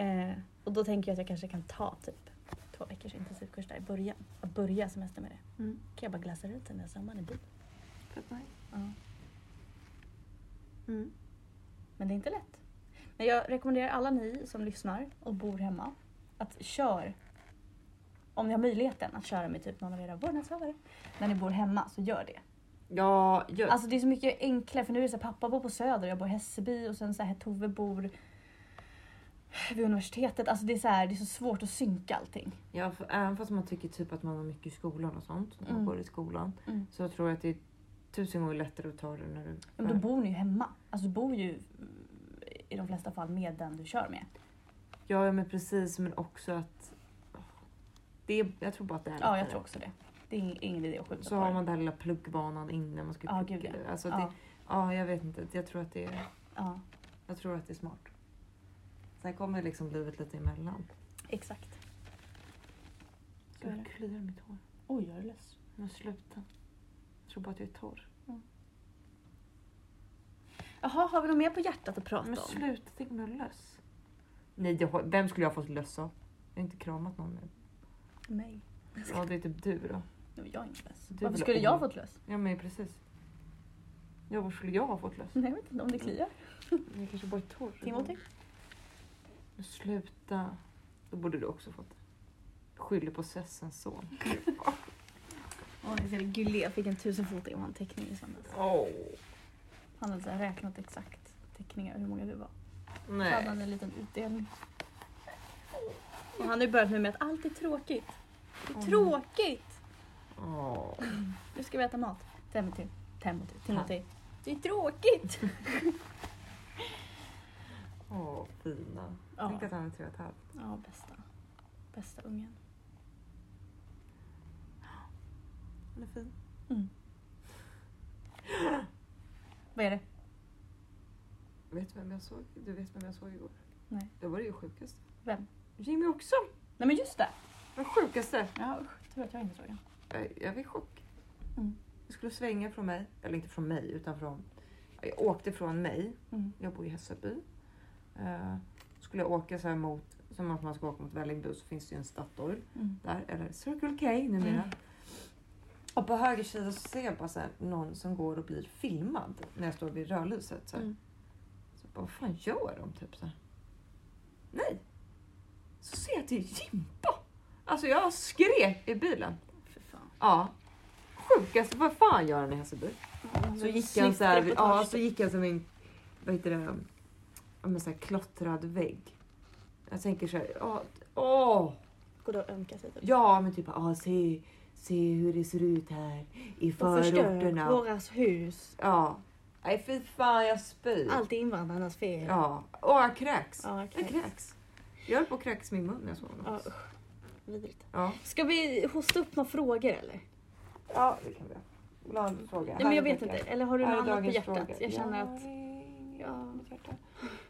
Speaker 2: Eh, och då tänker jag att jag kanske kan ta typ två veckors intensivkurs där i början. Att börja semester med det
Speaker 3: Mm.
Speaker 2: kan jag bara glassa runt den där sommaren i bil.
Speaker 3: Fett nice.
Speaker 2: Ja.
Speaker 3: Mm.
Speaker 2: Men det är inte lätt. Men jag rekommenderar alla ni som lyssnar och bor hemma att kör om ni har möjligheten att köra med typ någon av era vårdnadshavare när ni bor hemma så gör det.
Speaker 3: Ja, gör
Speaker 2: Alltså det är så mycket enklare för nu är det så här, pappa bor på Söder och jag bor i Hässelby och sen så här Tove bor vid universitetet. Alltså det är så här, det är så svårt att synka allting.
Speaker 3: Ja, för, även fast man tycker typ att man har mycket i skolan och sånt, när man
Speaker 2: Mm.
Speaker 3: går i skolan,
Speaker 2: Mm.
Speaker 3: så jag tror jag att det är tusen gånger lättare att ta det när du...
Speaker 2: Men då bor ni ju hemma. Alltså du bor ju mm, i de flesta fall med den du kör med.
Speaker 3: Ja, ja, men precis. Men också att... Det är, jag tror bara att det är
Speaker 2: Ja, jag
Speaker 3: lättare.
Speaker 2: tror också det. Det är ing- ingen idé att skjuta
Speaker 3: Så
Speaker 2: på
Speaker 3: har
Speaker 2: det.
Speaker 3: man den här lilla pluggbanan inne. Man ska
Speaker 2: Ja,
Speaker 3: plugga.
Speaker 2: gud,
Speaker 3: alltså, det,
Speaker 2: Ja,
Speaker 3: ja, jag vet inte. Jag tror att det är,
Speaker 2: ja,
Speaker 3: jag tror att det är smart. Sen kommer liksom livet lite emellan.
Speaker 2: exakt. Så är det.
Speaker 3: Jag kliar i mitt hår.
Speaker 2: Oj, jag är lös.
Speaker 3: Men sluta. Jag tror bara att jag är torr.
Speaker 2: Jaha, har vi något mer på hjärtat att prata
Speaker 3: Men
Speaker 2: om?
Speaker 3: sluta, tänk om jag har löss. Nej, jag, har- vem skulle jag ha fått löss av? Jag har inte kramat någon nu.
Speaker 2: Nej.
Speaker 3: Ja, det är typ du då.
Speaker 2: Nej, Jag är inte lös.
Speaker 3: Du är
Speaker 2: Varför
Speaker 3: väl
Speaker 2: skulle jag ha
Speaker 3: ung?
Speaker 2: fått lös?
Speaker 3: Ja, men precis. Ja, var skulle jag ha fått löss?
Speaker 2: Nej, jag vet inte om det kliar.
Speaker 3: Jag kanske bara är torr.
Speaker 2: Timothy?
Speaker 3: Men sluta. Då borde du också fått det. Skyller på Sessens son.
Speaker 2: Åh, ni ser det. Gulli, jag fick en tusenfoting av en teckning i söndags.
Speaker 3: Åh,
Speaker 2: Han hade så här räknat exakt teckningar, hur många det var. Så hade
Speaker 3: nej.
Speaker 2: han en liten utdelning. Och han har ju börjat nu med att allt är tråkigt. Det är
Speaker 3: Mm.
Speaker 2: tråkigt!
Speaker 3: Åh.
Speaker 2: Nu ska vi äta mat. Timothy. Timothy. Timothy. Det är tråkigt!
Speaker 3: Åh, fina.
Speaker 2: Ja,
Speaker 3: Tänk att han är tre och ett halvt.
Speaker 2: ja bästa. Bästa ungen.
Speaker 3: Han är fin.
Speaker 2: Mm. Vad är det?
Speaker 3: Vet du vem jag såg? Du vet vem jag såg igår?
Speaker 2: Nej.
Speaker 3: Det var det ju sjukaste.
Speaker 2: Vem?
Speaker 3: Jimmy också!
Speaker 2: Nej men just det!
Speaker 3: Den sjukaste!
Speaker 2: Ja usch, tur att jag inte såg den.
Speaker 3: Jag, Eh, jag fick chock.
Speaker 2: Mm.
Speaker 3: Jag skulle svänga från mig, eller inte från mig, utan från... Jag åkte från mig,
Speaker 2: Mm.
Speaker 3: jag bor i Hässelby. Eh, skulle jag åka så här mot, som att man ska åka mot Vällingby så finns det ju en Statoil.
Speaker 2: Mm.
Speaker 3: där, eller Circle K numera.
Speaker 2: Mm.
Speaker 3: Och på höger sida så ser jag bara så här, någon som går och blir filmad när jag står vid rödlyset. Så, här.
Speaker 2: Mm.
Speaker 3: så jag bara, vad fan gör de? Typ så här. Nej! Så ser jag att det är Jimpa! Alltså jag skrek i bilen.
Speaker 2: Fy fan.
Speaker 3: Ja. Sjukaste, vad fan gör han i Hässelby?
Speaker 2: Mm,
Speaker 3: Så gick han så här, ja, så gick han som en, vad heter det, ja, men så här klottrad vägg. Jag tänker så här, ja, åh!
Speaker 2: Går då och ömkar sig typ.
Speaker 3: Ja, men typ ah, se, se hur det ser ut här i förorterna.
Speaker 2: våras hus.
Speaker 3: Ja. Nej fy fan jag spyr.
Speaker 2: Allt är invandrarnas fel.
Speaker 3: Ja. Och jag kräks.
Speaker 2: Ja,
Speaker 3: Jag kräks. Jag höll på att kräks min mun när jag såg honom.
Speaker 2: Ja,
Speaker 3: också.
Speaker 2: usch. Vidrigt.
Speaker 3: Ja.
Speaker 2: Ska vi hosta upp några frågor eller?
Speaker 3: ja, det kan vi göra. Vill du ha en fråga?
Speaker 2: Nej, men jag
Speaker 3: Här är
Speaker 2: vet inte.
Speaker 3: dagens-
Speaker 2: Eller har du något
Speaker 3: här är
Speaker 2: annat på
Speaker 3: dagens
Speaker 2: hjärtat?
Speaker 3: fråga.
Speaker 2: Jag känner att
Speaker 3: Ja.
Speaker 2: Ja.
Speaker 3: mitt hjärta.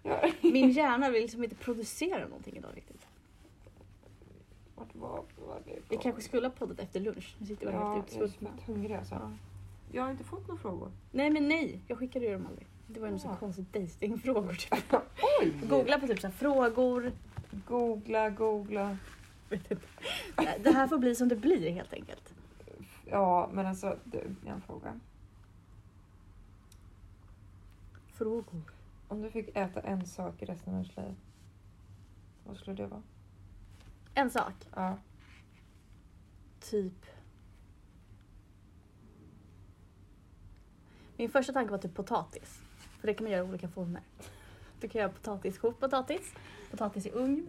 Speaker 3: Ja.
Speaker 2: min hjärna vill liksom inte producera någonting idag riktigt.
Speaker 3: Vart var var det ifrån?
Speaker 2: Vi kanske skulle ha poddat efter lunch. Nu sitter vi här
Speaker 3: Ja,
Speaker 2: helt
Speaker 3: jag är så
Speaker 2: utsvultna.
Speaker 3: hungrig alltså.
Speaker 2: Ja.
Speaker 3: Jag har inte fått några frågor.
Speaker 2: Nej men nej, jag skickade ju dem aldrig. Det var ju någon
Speaker 3: Ja.
Speaker 2: så konstig dejtingfrågor typ.
Speaker 3: Oj!
Speaker 2: Googla på typ såhär frågor.
Speaker 3: Googla, googla.
Speaker 2: Eh, Det här får bli som det blir helt enkelt.
Speaker 3: Ja, men alltså, du, jag har en fråga.
Speaker 2: Frågor.
Speaker 3: Om du fick äta en sak i resten av ditt liv, vad skulle det vara?
Speaker 2: En sak.
Speaker 3: Ja.
Speaker 2: Typ. Min första tanke var typ potatis. För det kan man göra i olika former. Du kan göra potatis, kokt potatis, potatis i ugn,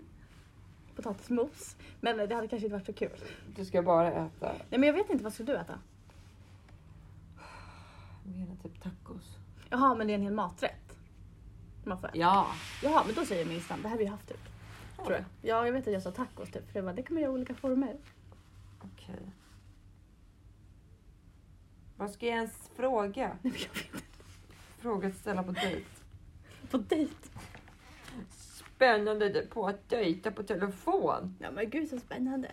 Speaker 2: potatismos. Men det hade kanske inte varit så kul.
Speaker 3: Du ska bara äta
Speaker 2: Nej men jag vet inte, vad skulle du äta?
Speaker 3: menar typ tacos.
Speaker 2: Jaha, men det är en hel maträtt. Man får äta.
Speaker 3: Ja!
Speaker 2: Jaha, men då säger min stam. Det här har vi haft typ. Tror jag. Ja, jag vet att jag sa tacos typ. För det, var, det kan man göra i olika former.
Speaker 3: Okej. Vad ska jag ens fråga?
Speaker 2: Nej, men jag vet inte.
Speaker 3: Fråga att ställa på dejt.
Speaker 2: På dejt.
Speaker 3: Spännande det på att dejta på telefon.
Speaker 2: Ja men gud så spännande.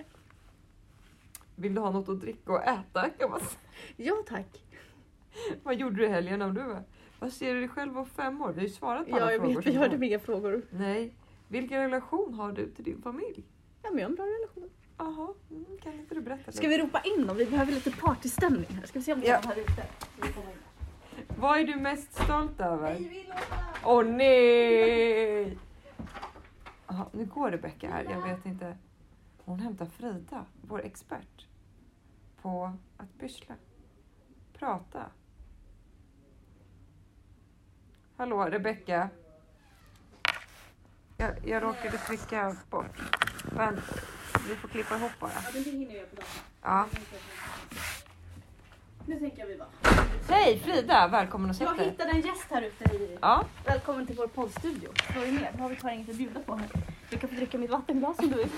Speaker 3: Vill du ha något att dricka och äta? Kan man säga.
Speaker 2: Ja tack.
Speaker 3: Vad gjorde du i helgen om du var? Vad ser du dig själv om fem år? Vi har ju svarat på
Speaker 2: Ja,
Speaker 3: alla
Speaker 2: jag
Speaker 3: frågor.
Speaker 2: vet,
Speaker 3: som
Speaker 2: vi hörde
Speaker 3: kom.
Speaker 2: mer frågor.
Speaker 3: Nej. Vilken relation har du till din familj?
Speaker 2: Ja, men jag har en bra relation.
Speaker 3: Jaha, mm, kan inte du berätta?
Speaker 2: Ska vi ropa in dem? Vi behöver lite partystämning här. Ska vi se om vi
Speaker 3: Ja.
Speaker 2: kan här ute?
Speaker 3: Vad är du mest stolt
Speaker 2: Nej,
Speaker 3: över?
Speaker 2: vi låter!
Speaker 3: Åh nej! Jaha, nu går Rebecka här. Jag vet inte. Hon hämtar Frida, vår expert på att pyssla. Prata. Hallå Rebecka. Jag, jag råkade trycka bort. Men vi får klippa ihop bara.
Speaker 2: Ja, men det hinner jag på dagen.
Speaker 3: Ja.
Speaker 2: Nu tänker jag vi bara...
Speaker 3: Hej Frida, välkommen och sätt
Speaker 2: Jag
Speaker 3: dig.
Speaker 2: hittade en gäst här ute i...
Speaker 3: Ja,
Speaker 2: Välkommen till vår poddstudio. Slå dig ner, då har vi tyvärr inget att bjuda på här. Du kan få dricka mitt vattenglas om du vill.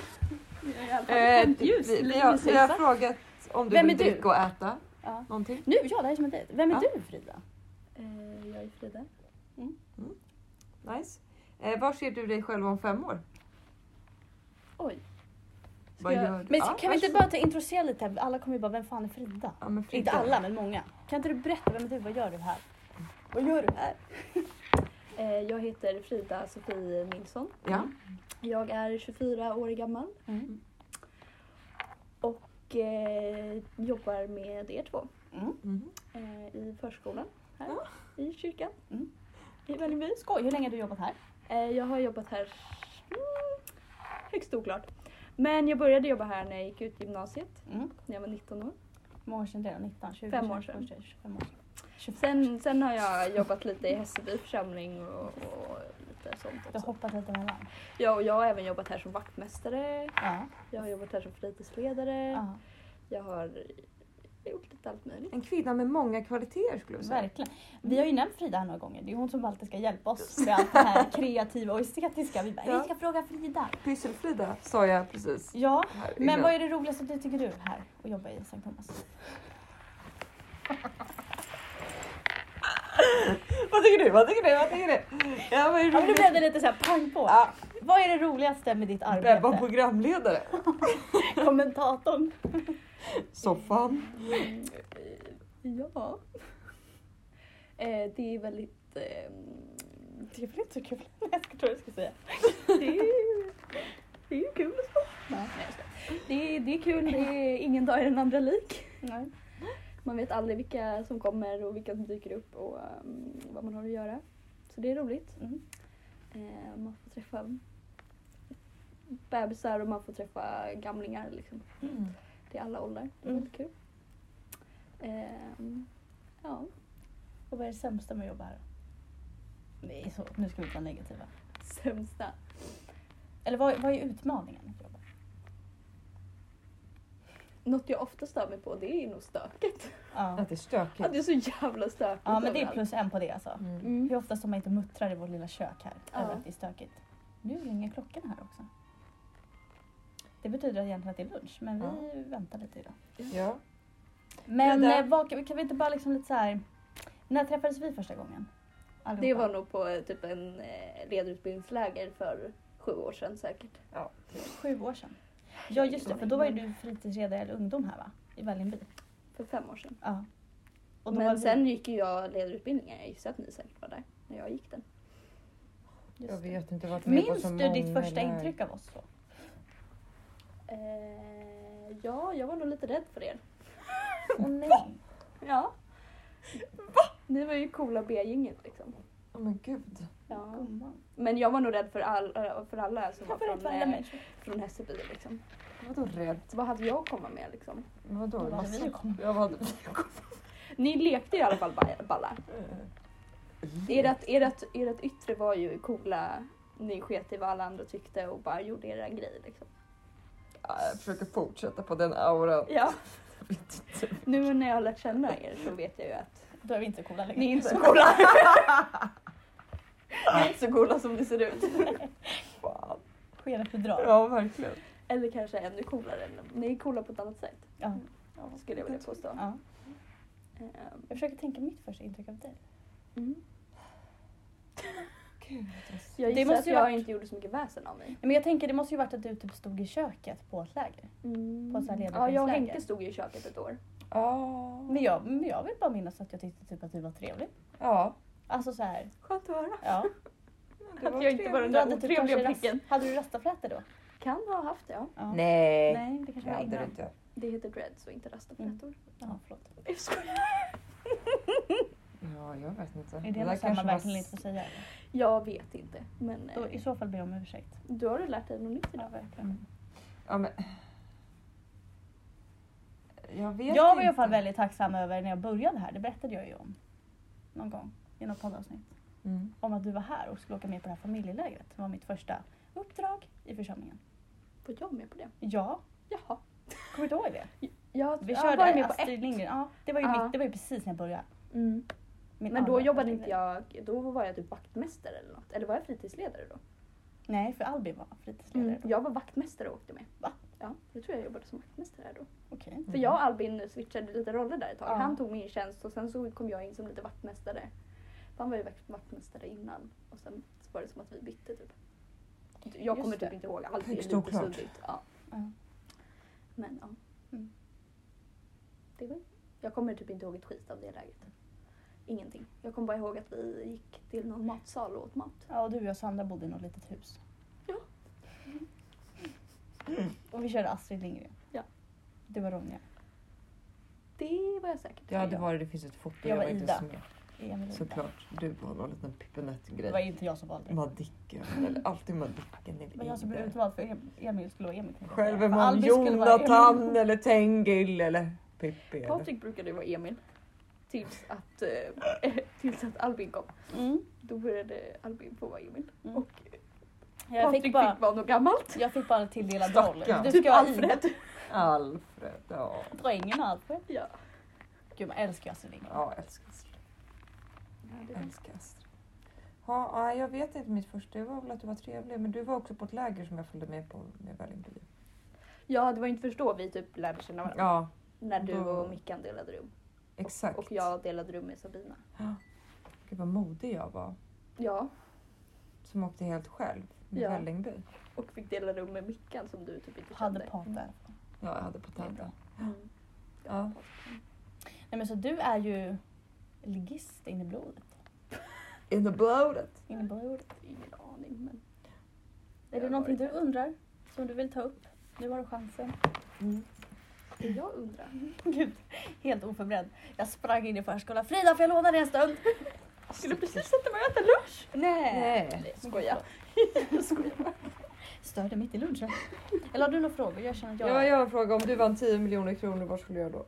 Speaker 2: Jag är i alla fall
Speaker 3: eh,
Speaker 2: ett
Speaker 3: vi,
Speaker 2: ljus,
Speaker 3: vi,
Speaker 2: lite
Speaker 3: har, vi har
Speaker 2: ljusa.
Speaker 3: frågat om du
Speaker 2: Vem
Speaker 3: vill
Speaker 2: är du?
Speaker 3: dricka och äta
Speaker 2: Ja.
Speaker 3: någonting.
Speaker 2: Nu, ja det här är som en dejt. Vem är
Speaker 3: Ja.
Speaker 2: du Frida? jag är Frida.
Speaker 3: Nice. Eh, var ser du dig själv om fem år?
Speaker 2: Oj. Ska
Speaker 3: Vad
Speaker 2: jag...
Speaker 3: gör du?
Speaker 2: Men
Speaker 3: Ja,
Speaker 2: kan vi inte
Speaker 3: varsågod.
Speaker 2: bara ta, introducera lite? här? Alla kommer ju bara, vem fan är Frida?
Speaker 3: Ja, men Frida.
Speaker 2: Inte alla, men många. Kan inte du berätta, vem är du? Vad gör du här? Vad gör du här?
Speaker 4: Eh, Jag heter Frida Sofie Nilsson.
Speaker 3: Ja.
Speaker 4: Jag är 24 år gammal
Speaker 2: Mm.
Speaker 4: och eh, jobbar med er två
Speaker 3: Mhm.
Speaker 4: eh, i förskolan här
Speaker 3: Ja.
Speaker 4: i kyrkan
Speaker 2: Mm.
Speaker 4: i Vällingby.
Speaker 2: Skoj, hur länge har du jobbat här?
Speaker 4: Eh, Jag har jobbat här mm, högst oklart. Men jag började jobba här när jag gick ut gymnasiet
Speaker 2: Mm.
Speaker 4: när jag var 19 år.
Speaker 2: Hur många år sedan det är? 19, 20,
Speaker 4: Fem år sedan.
Speaker 2: 21, 25 år sedan. 25.
Speaker 4: Sen, sen har jag jobbat lite i Hässelby församling och, och lite sånt
Speaker 2: Du har
Speaker 4: också.
Speaker 2: hoppat lite mellan.
Speaker 4: Ja, och jag har även jobbat här som vaktmästare.
Speaker 2: Ja.
Speaker 4: Jag har jobbat här som fritidsledare.
Speaker 2: ja.
Speaker 4: Jag har gjort lite allt möjligt.
Speaker 3: En kvinna med många kvaliteter skulle jag säga.
Speaker 2: Verkligen. Vi har ju nämnt Frida här några gånger. Det är hon som alltid ska hjälpa oss med allt det här kreativa och estetiska. Vi bara,
Speaker 3: Ja.
Speaker 2: vi ska fråga Frida.
Speaker 3: Pysselfrida sa jag precis.
Speaker 2: Ja,
Speaker 3: här
Speaker 2: men
Speaker 3: innan.
Speaker 2: vad är det roligaste du tycker du här att jobba i Sankt Thomas?
Speaker 3: Vad tycker du? Vad tycker du? Vad tycker du? Ja, vad är
Speaker 2: Ja, men nu
Speaker 3: roligt?
Speaker 2: blev det lite så här pang på.
Speaker 3: Ja,
Speaker 2: Vad är det roligaste med ditt
Speaker 3: Bebban
Speaker 2: arbete?
Speaker 3: programledare.
Speaker 2: Kommentatorn.
Speaker 3: Soffan.
Speaker 4: Mm, eh, ja. Eh, det är väldigt... Eh,
Speaker 2: Det är väl inte så kul? Jag ska tro jag ska säga.
Speaker 4: det, är, det är ju kul att spara.
Speaker 2: Nej.
Speaker 4: Det är, det är kul, det är ingen dag är den andra lik.
Speaker 2: Nej.
Speaker 4: Man vet aldrig vilka som kommer och vilka som dyker upp och eh, vad man har att göra. Så det är roligt.
Speaker 2: Mm.
Speaker 4: Eh, man får träffa bebisar och man får träffa gamlingar liksom. Det är alla åldrar. Det är
Speaker 2: Mm.
Speaker 4: väldigt kul. Ehm, ja.
Speaker 2: Och vad är det sämsta med att jobba här? Nej, så, nu ska vi inte vara negativa.
Speaker 4: Sämsta.
Speaker 2: Eller vad, vad är utmaningen? Att jobba?
Speaker 4: Något jag ofta stör mig på det är nog stöket.
Speaker 2: Ja.
Speaker 3: Att det är stökigt.
Speaker 4: Att det är så jävla stökigt
Speaker 2: ja, men det är
Speaker 4: överallt.
Speaker 2: plus en på det alltså.
Speaker 3: Mm.
Speaker 4: Mm.
Speaker 2: Hur ofta står man inte och muttrar i vårt lilla kök här
Speaker 4: Ja.
Speaker 2: över att det är stökigt? Nu ringer klockan här också. Det betyder att egentligen att det är lunch, men vi väntar lite idag.
Speaker 3: Ja.
Speaker 2: Men
Speaker 3: Frida?
Speaker 2: eh, vad, kan, vi- kan vi inte bara liksom lite så här. När träffades vi första gången? Allihopa.
Speaker 4: Det var nog på eh, typ en eh, ledarutbildningsläger för sju år sedan säkert.
Speaker 2: sju år sedan. Ja just det, för då var ju du fritidsledare eller ungdom här va? I Vällingby.
Speaker 4: För fem år sedan.
Speaker 2: Ja. Och då var
Speaker 4: Men
Speaker 2: vi-
Speaker 4: sen gick ju jag ledarutbildningar. Jag gissar att ni säkert var där när jag gick den.
Speaker 2: just
Speaker 3: Jag
Speaker 2: det.
Speaker 3: vet inte, jag har varit med på
Speaker 2: Minns
Speaker 3: så
Speaker 2: du ditt
Speaker 3: många
Speaker 2: första
Speaker 3: lär-
Speaker 2: intryck av oss då?
Speaker 4: Eh, ja, jag var nog lite rädd för er.
Speaker 2: Åh nej.
Speaker 4: Ja. Ni var ju coola B-gänget liksom.
Speaker 3: Ja men gud.
Speaker 4: Ja.
Speaker 2: Gumman.
Speaker 4: Men jag var nog rädd för, all, eh, för alla som var
Speaker 2: Varför
Speaker 4: från,
Speaker 2: inte alla
Speaker 4: eh,
Speaker 2: människor?
Speaker 4: från Hässelby. Liksom.
Speaker 3: Vadå rädd?
Speaker 4: Så vad hade jag att komma med liksom?
Speaker 3: Vadå?
Speaker 2: Vad hade vi
Speaker 3: Massa-
Speaker 2: att komma
Speaker 3: Jag hade...
Speaker 4: Ni lekte i alla fall ba- balla. Ert, ert, ert yttre var ju coola. Ni sket i vad alla andra tyckte och bara gjorde era grej. Liksom.
Speaker 3: Ja, Jag försöker fortsätta på den auran.
Speaker 4: Ja,
Speaker 3: Jag vet inte.
Speaker 4: nu när jag har lärt känna er så vet jag ju att
Speaker 2: Då är vi inte så coola längre.
Speaker 4: ni är inte så coola. ni är inte så coola som ni ser ut.
Speaker 3: Fan.
Speaker 2: Skenet bedrar.
Speaker 3: Ja verkligen.
Speaker 4: Eller kanske ännu coolare. Ni är coola på ett annat sätt
Speaker 2: Ja.
Speaker 4: skulle jag vilja påstå.
Speaker 2: ja.
Speaker 4: Ehm,
Speaker 2: liksom. Jag försöker tänka mitt första intryck av dig.
Speaker 4: Mm.
Speaker 3: Gud.
Speaker 4: Jag
Speaker 2: Det
Speaker 4: gissar
Speaker 2: måste
Speaker 4: att
Speaker 2: ju
Speaker 4: jag
Speaker 2: varit-
Speaker 4: inte gjorde så mycket väsen av mig.
Speaker 2: Men jag tänker det måste ju varit att du typ stod i köket på ett läger.
Speaker 4: Mm.
Speaker 2: På så här
Speaker 4: Ja, jag och
Speaker 2: ledarskapsläger.
Speaker 4: Henke stod ju i köket ett år.
Speaker 3: Ja.
Speaker 2: Men jag, men jag vill bara minnas att jag tyckte typ att du var trevlig.
Speaker 3: Ja.
Speaker 2: Alltså så här,
Speaker 4: Skönt att höra.
Speaker 2: ja.
Speaker 3: det var
Speaker 4: Att jag inte var den
Speaker 2: Du hade
Speaker 4: där
Speaker 2: typ kanske
Speaker 4: otrevliga
Speaker 2: rast,
Speaker 4: pricken.
Speaker 2: Hade du rastaflätor då?
Speaker 4: Kan ha haft det, ja.
Speaker 2: Ja.
Speaker 3: Nej.
Speaker 2: Nej, det
Speaker 3: Det
Speaker 2: kanske var
Speaker 3: hade du
Speaker 2: innan.
Speaker 3: inte.
Speaker 4: Det heter dreads och inte
Speaker 2: Mm.
Speaker 4: rastaflätor.
Speaker 2: Ja, förlåt.
Speaker 4: Jag skojar.
Speaker 3: Ja, jag vet inte.
Speaker 2: Är det
Speaker 3: där
Speaker 2: något som man
Speaker 3: kanske var
Speaker 2: verkligen inte får
Speaker 3: s-
Speaker 2: säga?
Speaker 4: Jag vet inte. Men
Speaker 2: Då,
Speaker 4: eh,
Speaker 2: I så fall ber jag om ursäkt. Mm.
Speaker 4: du har du lärt dig något nytt idag.
Speaker 2: verkligen.
Speaker 3: Ja, men... Jag vet
Speaker 2: Jag var i
Speaker 3: inte.
Speaker 2: alla fall väldigt tacksam över när jag började här, det berättade jag ju om. Någon gång i något poddavsnitt.
Speaker 3: Mm.
Speaker 2: Om att du var här och skulle åka med på det här familjelägret. Det var mitt första uppdrag i församlingen.
Speaker 4: Var jag med på det?
Speaker 2: Ja,
Speaker 4: Jaha.
Speaker 2: kommer du ihåg det?
Speaker 4: Jag,
Speaker 2: Vi
Speaker 4: jag
Speaker 2: körde
Speaker 4: var med på
Speaker 2: Astrid
Speaker 4: ett.
Speaker 2: Lindgren. Ja, det var ju,
Speaker 4: liksom- Ja.
Speaker 2: mitt, det var ju precis när jag började.
Speaker 4: Mm.
Speaker 2: Min
Speaker 4: Men då
Speaker 2: andra
Speaker 4: jobbade
Speaker 2: Astrid
Speaker 4: inte jag, då var jag typ vaktmästare eller något. Eller var jag fritidsledare då? Mm.
Speaker 2: Lindgren. Nej, för Albin var fritidsledare då.
Speaker 4: Jag var vaktmästare och åkte med.
Speaker 2: Va?
Speaker 4: Ja, jag tror jag jobbade som vaktmästare här då.
Speaker 2: Okej.
Speaker 4: För jag och Albin switchade lite roller där ett tag.
Speaker 2: Ja.
Speaker 4: Han tog min tjänst och sen så kom jag in som lite vaktmästare. För Han var ju vakt- vaktmästare innan och sen så var det som att vi bytte typ. Jag
Speaker 2: Just
Speaker 4: kommer typ
Speaker 2: det.
Speaker 4: inte ihåg allt. Det är
Speaker 1: Högst
Speaker 4: lite
Speaker 1: oklart.
Speaker 4: suddigt. Ja.
Speaker 2: Ja.
Speaker 4: Men ja.
Speaker 2: Mm.
Speaker 4: Det var, jag kommer typ inte ihåg ett skit av det läget. Ingenting. Jag kommer bara ihåg att vi gick till någon matsal och åt mat.
Speaker 2: Ja, och du och jag och Sandra bodde i något litet hus.
Speaker 4: Ja.
Speaker 2: Och vi körde Astrid Lindgren.
Speaker 4: Ja.
Speaker 2: Du var Ronja.
Speaker 4: Det var jag säkert.
Speaker 1: Jag hade varit, det finns ett foto.
Speaker 2: Jag
Speaker 1: Jag
Speaker 2: var
Speaker 1: var inte
Speaker 2: Ida.
Speaker 1: ens med.
Speaker 2: Emil
Speaker 1: Såklart. Du har någon liten
Speaker 2: Det var
Speaker 1: pipinett-grej.
Speaker 2: inte jag som valde. Det
Speaker 1: Madicken. Eller alltid Madicken. eller
Speaker 2: var jag som blev
Speaker 1: Ida.
Speaker 2: utvald för Em- Emil skulle vara Emil. kan jag säga.
Speaker 1: Själv är
Speaker 2: För
Speaker 1: man
Speaker 2: Albin skulle vara Emil.
Speaker 1: Jonathan eller Tengil eller Pippi. eller-
Speaker 4: Patrik brukade ju vara Emil. Tills att, eh, tills att Albin kom.
Speaker 2: Mm.
Speaker 4: Då började Albin få vara Emil.
Speaker 2: Mm.
Speaker 4: Och
Speaker 2: Jag
Speaker 4: Patrik
Speaker 2: fick bara,
Speaker 4: fick vara något gammalt.
Speaker 2: jag fick bara en tilldelad
Speaker 1: Stackarn.
Speaker 2: roll. Du
Speaker 4: Typ
Speaker 2: ska ha Ida.
Speaker 4: Alfred.
Speaker 1: Alfred. Ja,
Speaker 2: Poängen och Alfred.
Speaker 4: Ja.
Speaker 2: Gud, man älskar ju Astrid Lindgren.
Speaker 1: ja älskar Astrid. Älskar Astrid. Ja, nej, jag vet inte mitt första. Det var väl att du var trevlig. Men du var också på ett läger som jag följde med på med Vällingby.
Speaker 4: ja, det var inte först då vi typ lärde känna varandra.
Speaker 1: Ja,
Speaker 4: När du
Speaker 1: Då-
Speaker 4: och Mickan delade rum.
Speaker 1: exakt.
Speaker 4: Och jag delade rum med Sabina.
Speaker 1: Gud vad modig jag var.
Speaker 4: Ja,
Speaker 1: Som åkte helt själv med
Speaker 4: Ja.
Speaker 1: Vällingby.
Speaker 4: och fick dela rum med Mickan som du typ inte
Speaker 2: Hade
Speaker 4: kände.
Speaker 2: paten.
Speaker 1: Ja, jag hade på
Speaker 2: Det är bra.
Speaker 1: tänderna.
Speaker 4: Mm.
Speaker 1: Ja.
Speaker 2: Nej men så du är ju ligist in i blodet.
Speaker 1: In the blodet.
Speaker 2: In i blodet.
Speaker 4: Ingen aning
Speaker 2: Är
Speaker 4: men.
Speaker 2: det
Speaker 4: Jag
Speaker 2: någonting du
Speaker 4: har varit
Speaker 2: undrar? Som du vill ta upp? Nu har du chansen.
Speaker 4: där. Jag undrar.
Speaker 2: Gud, helt oförberedd. Jag sprang in i förskolan. Frida, får jag låna dig en stund?
Speaker 4: Jag skulle precis sätta mig och äta lunch. Nej.
Speaker 1: Nej.
Speaker 4: Nej. Skoja. Jag skojar bara.
Speaker 2: Störde mitt i lunchen. Eller har du några frågor? Jag känner att jag...
Speaker 1: Ja, jag har en fråga. Om du vann 10 miljoner kronor, vad skulle du göra då?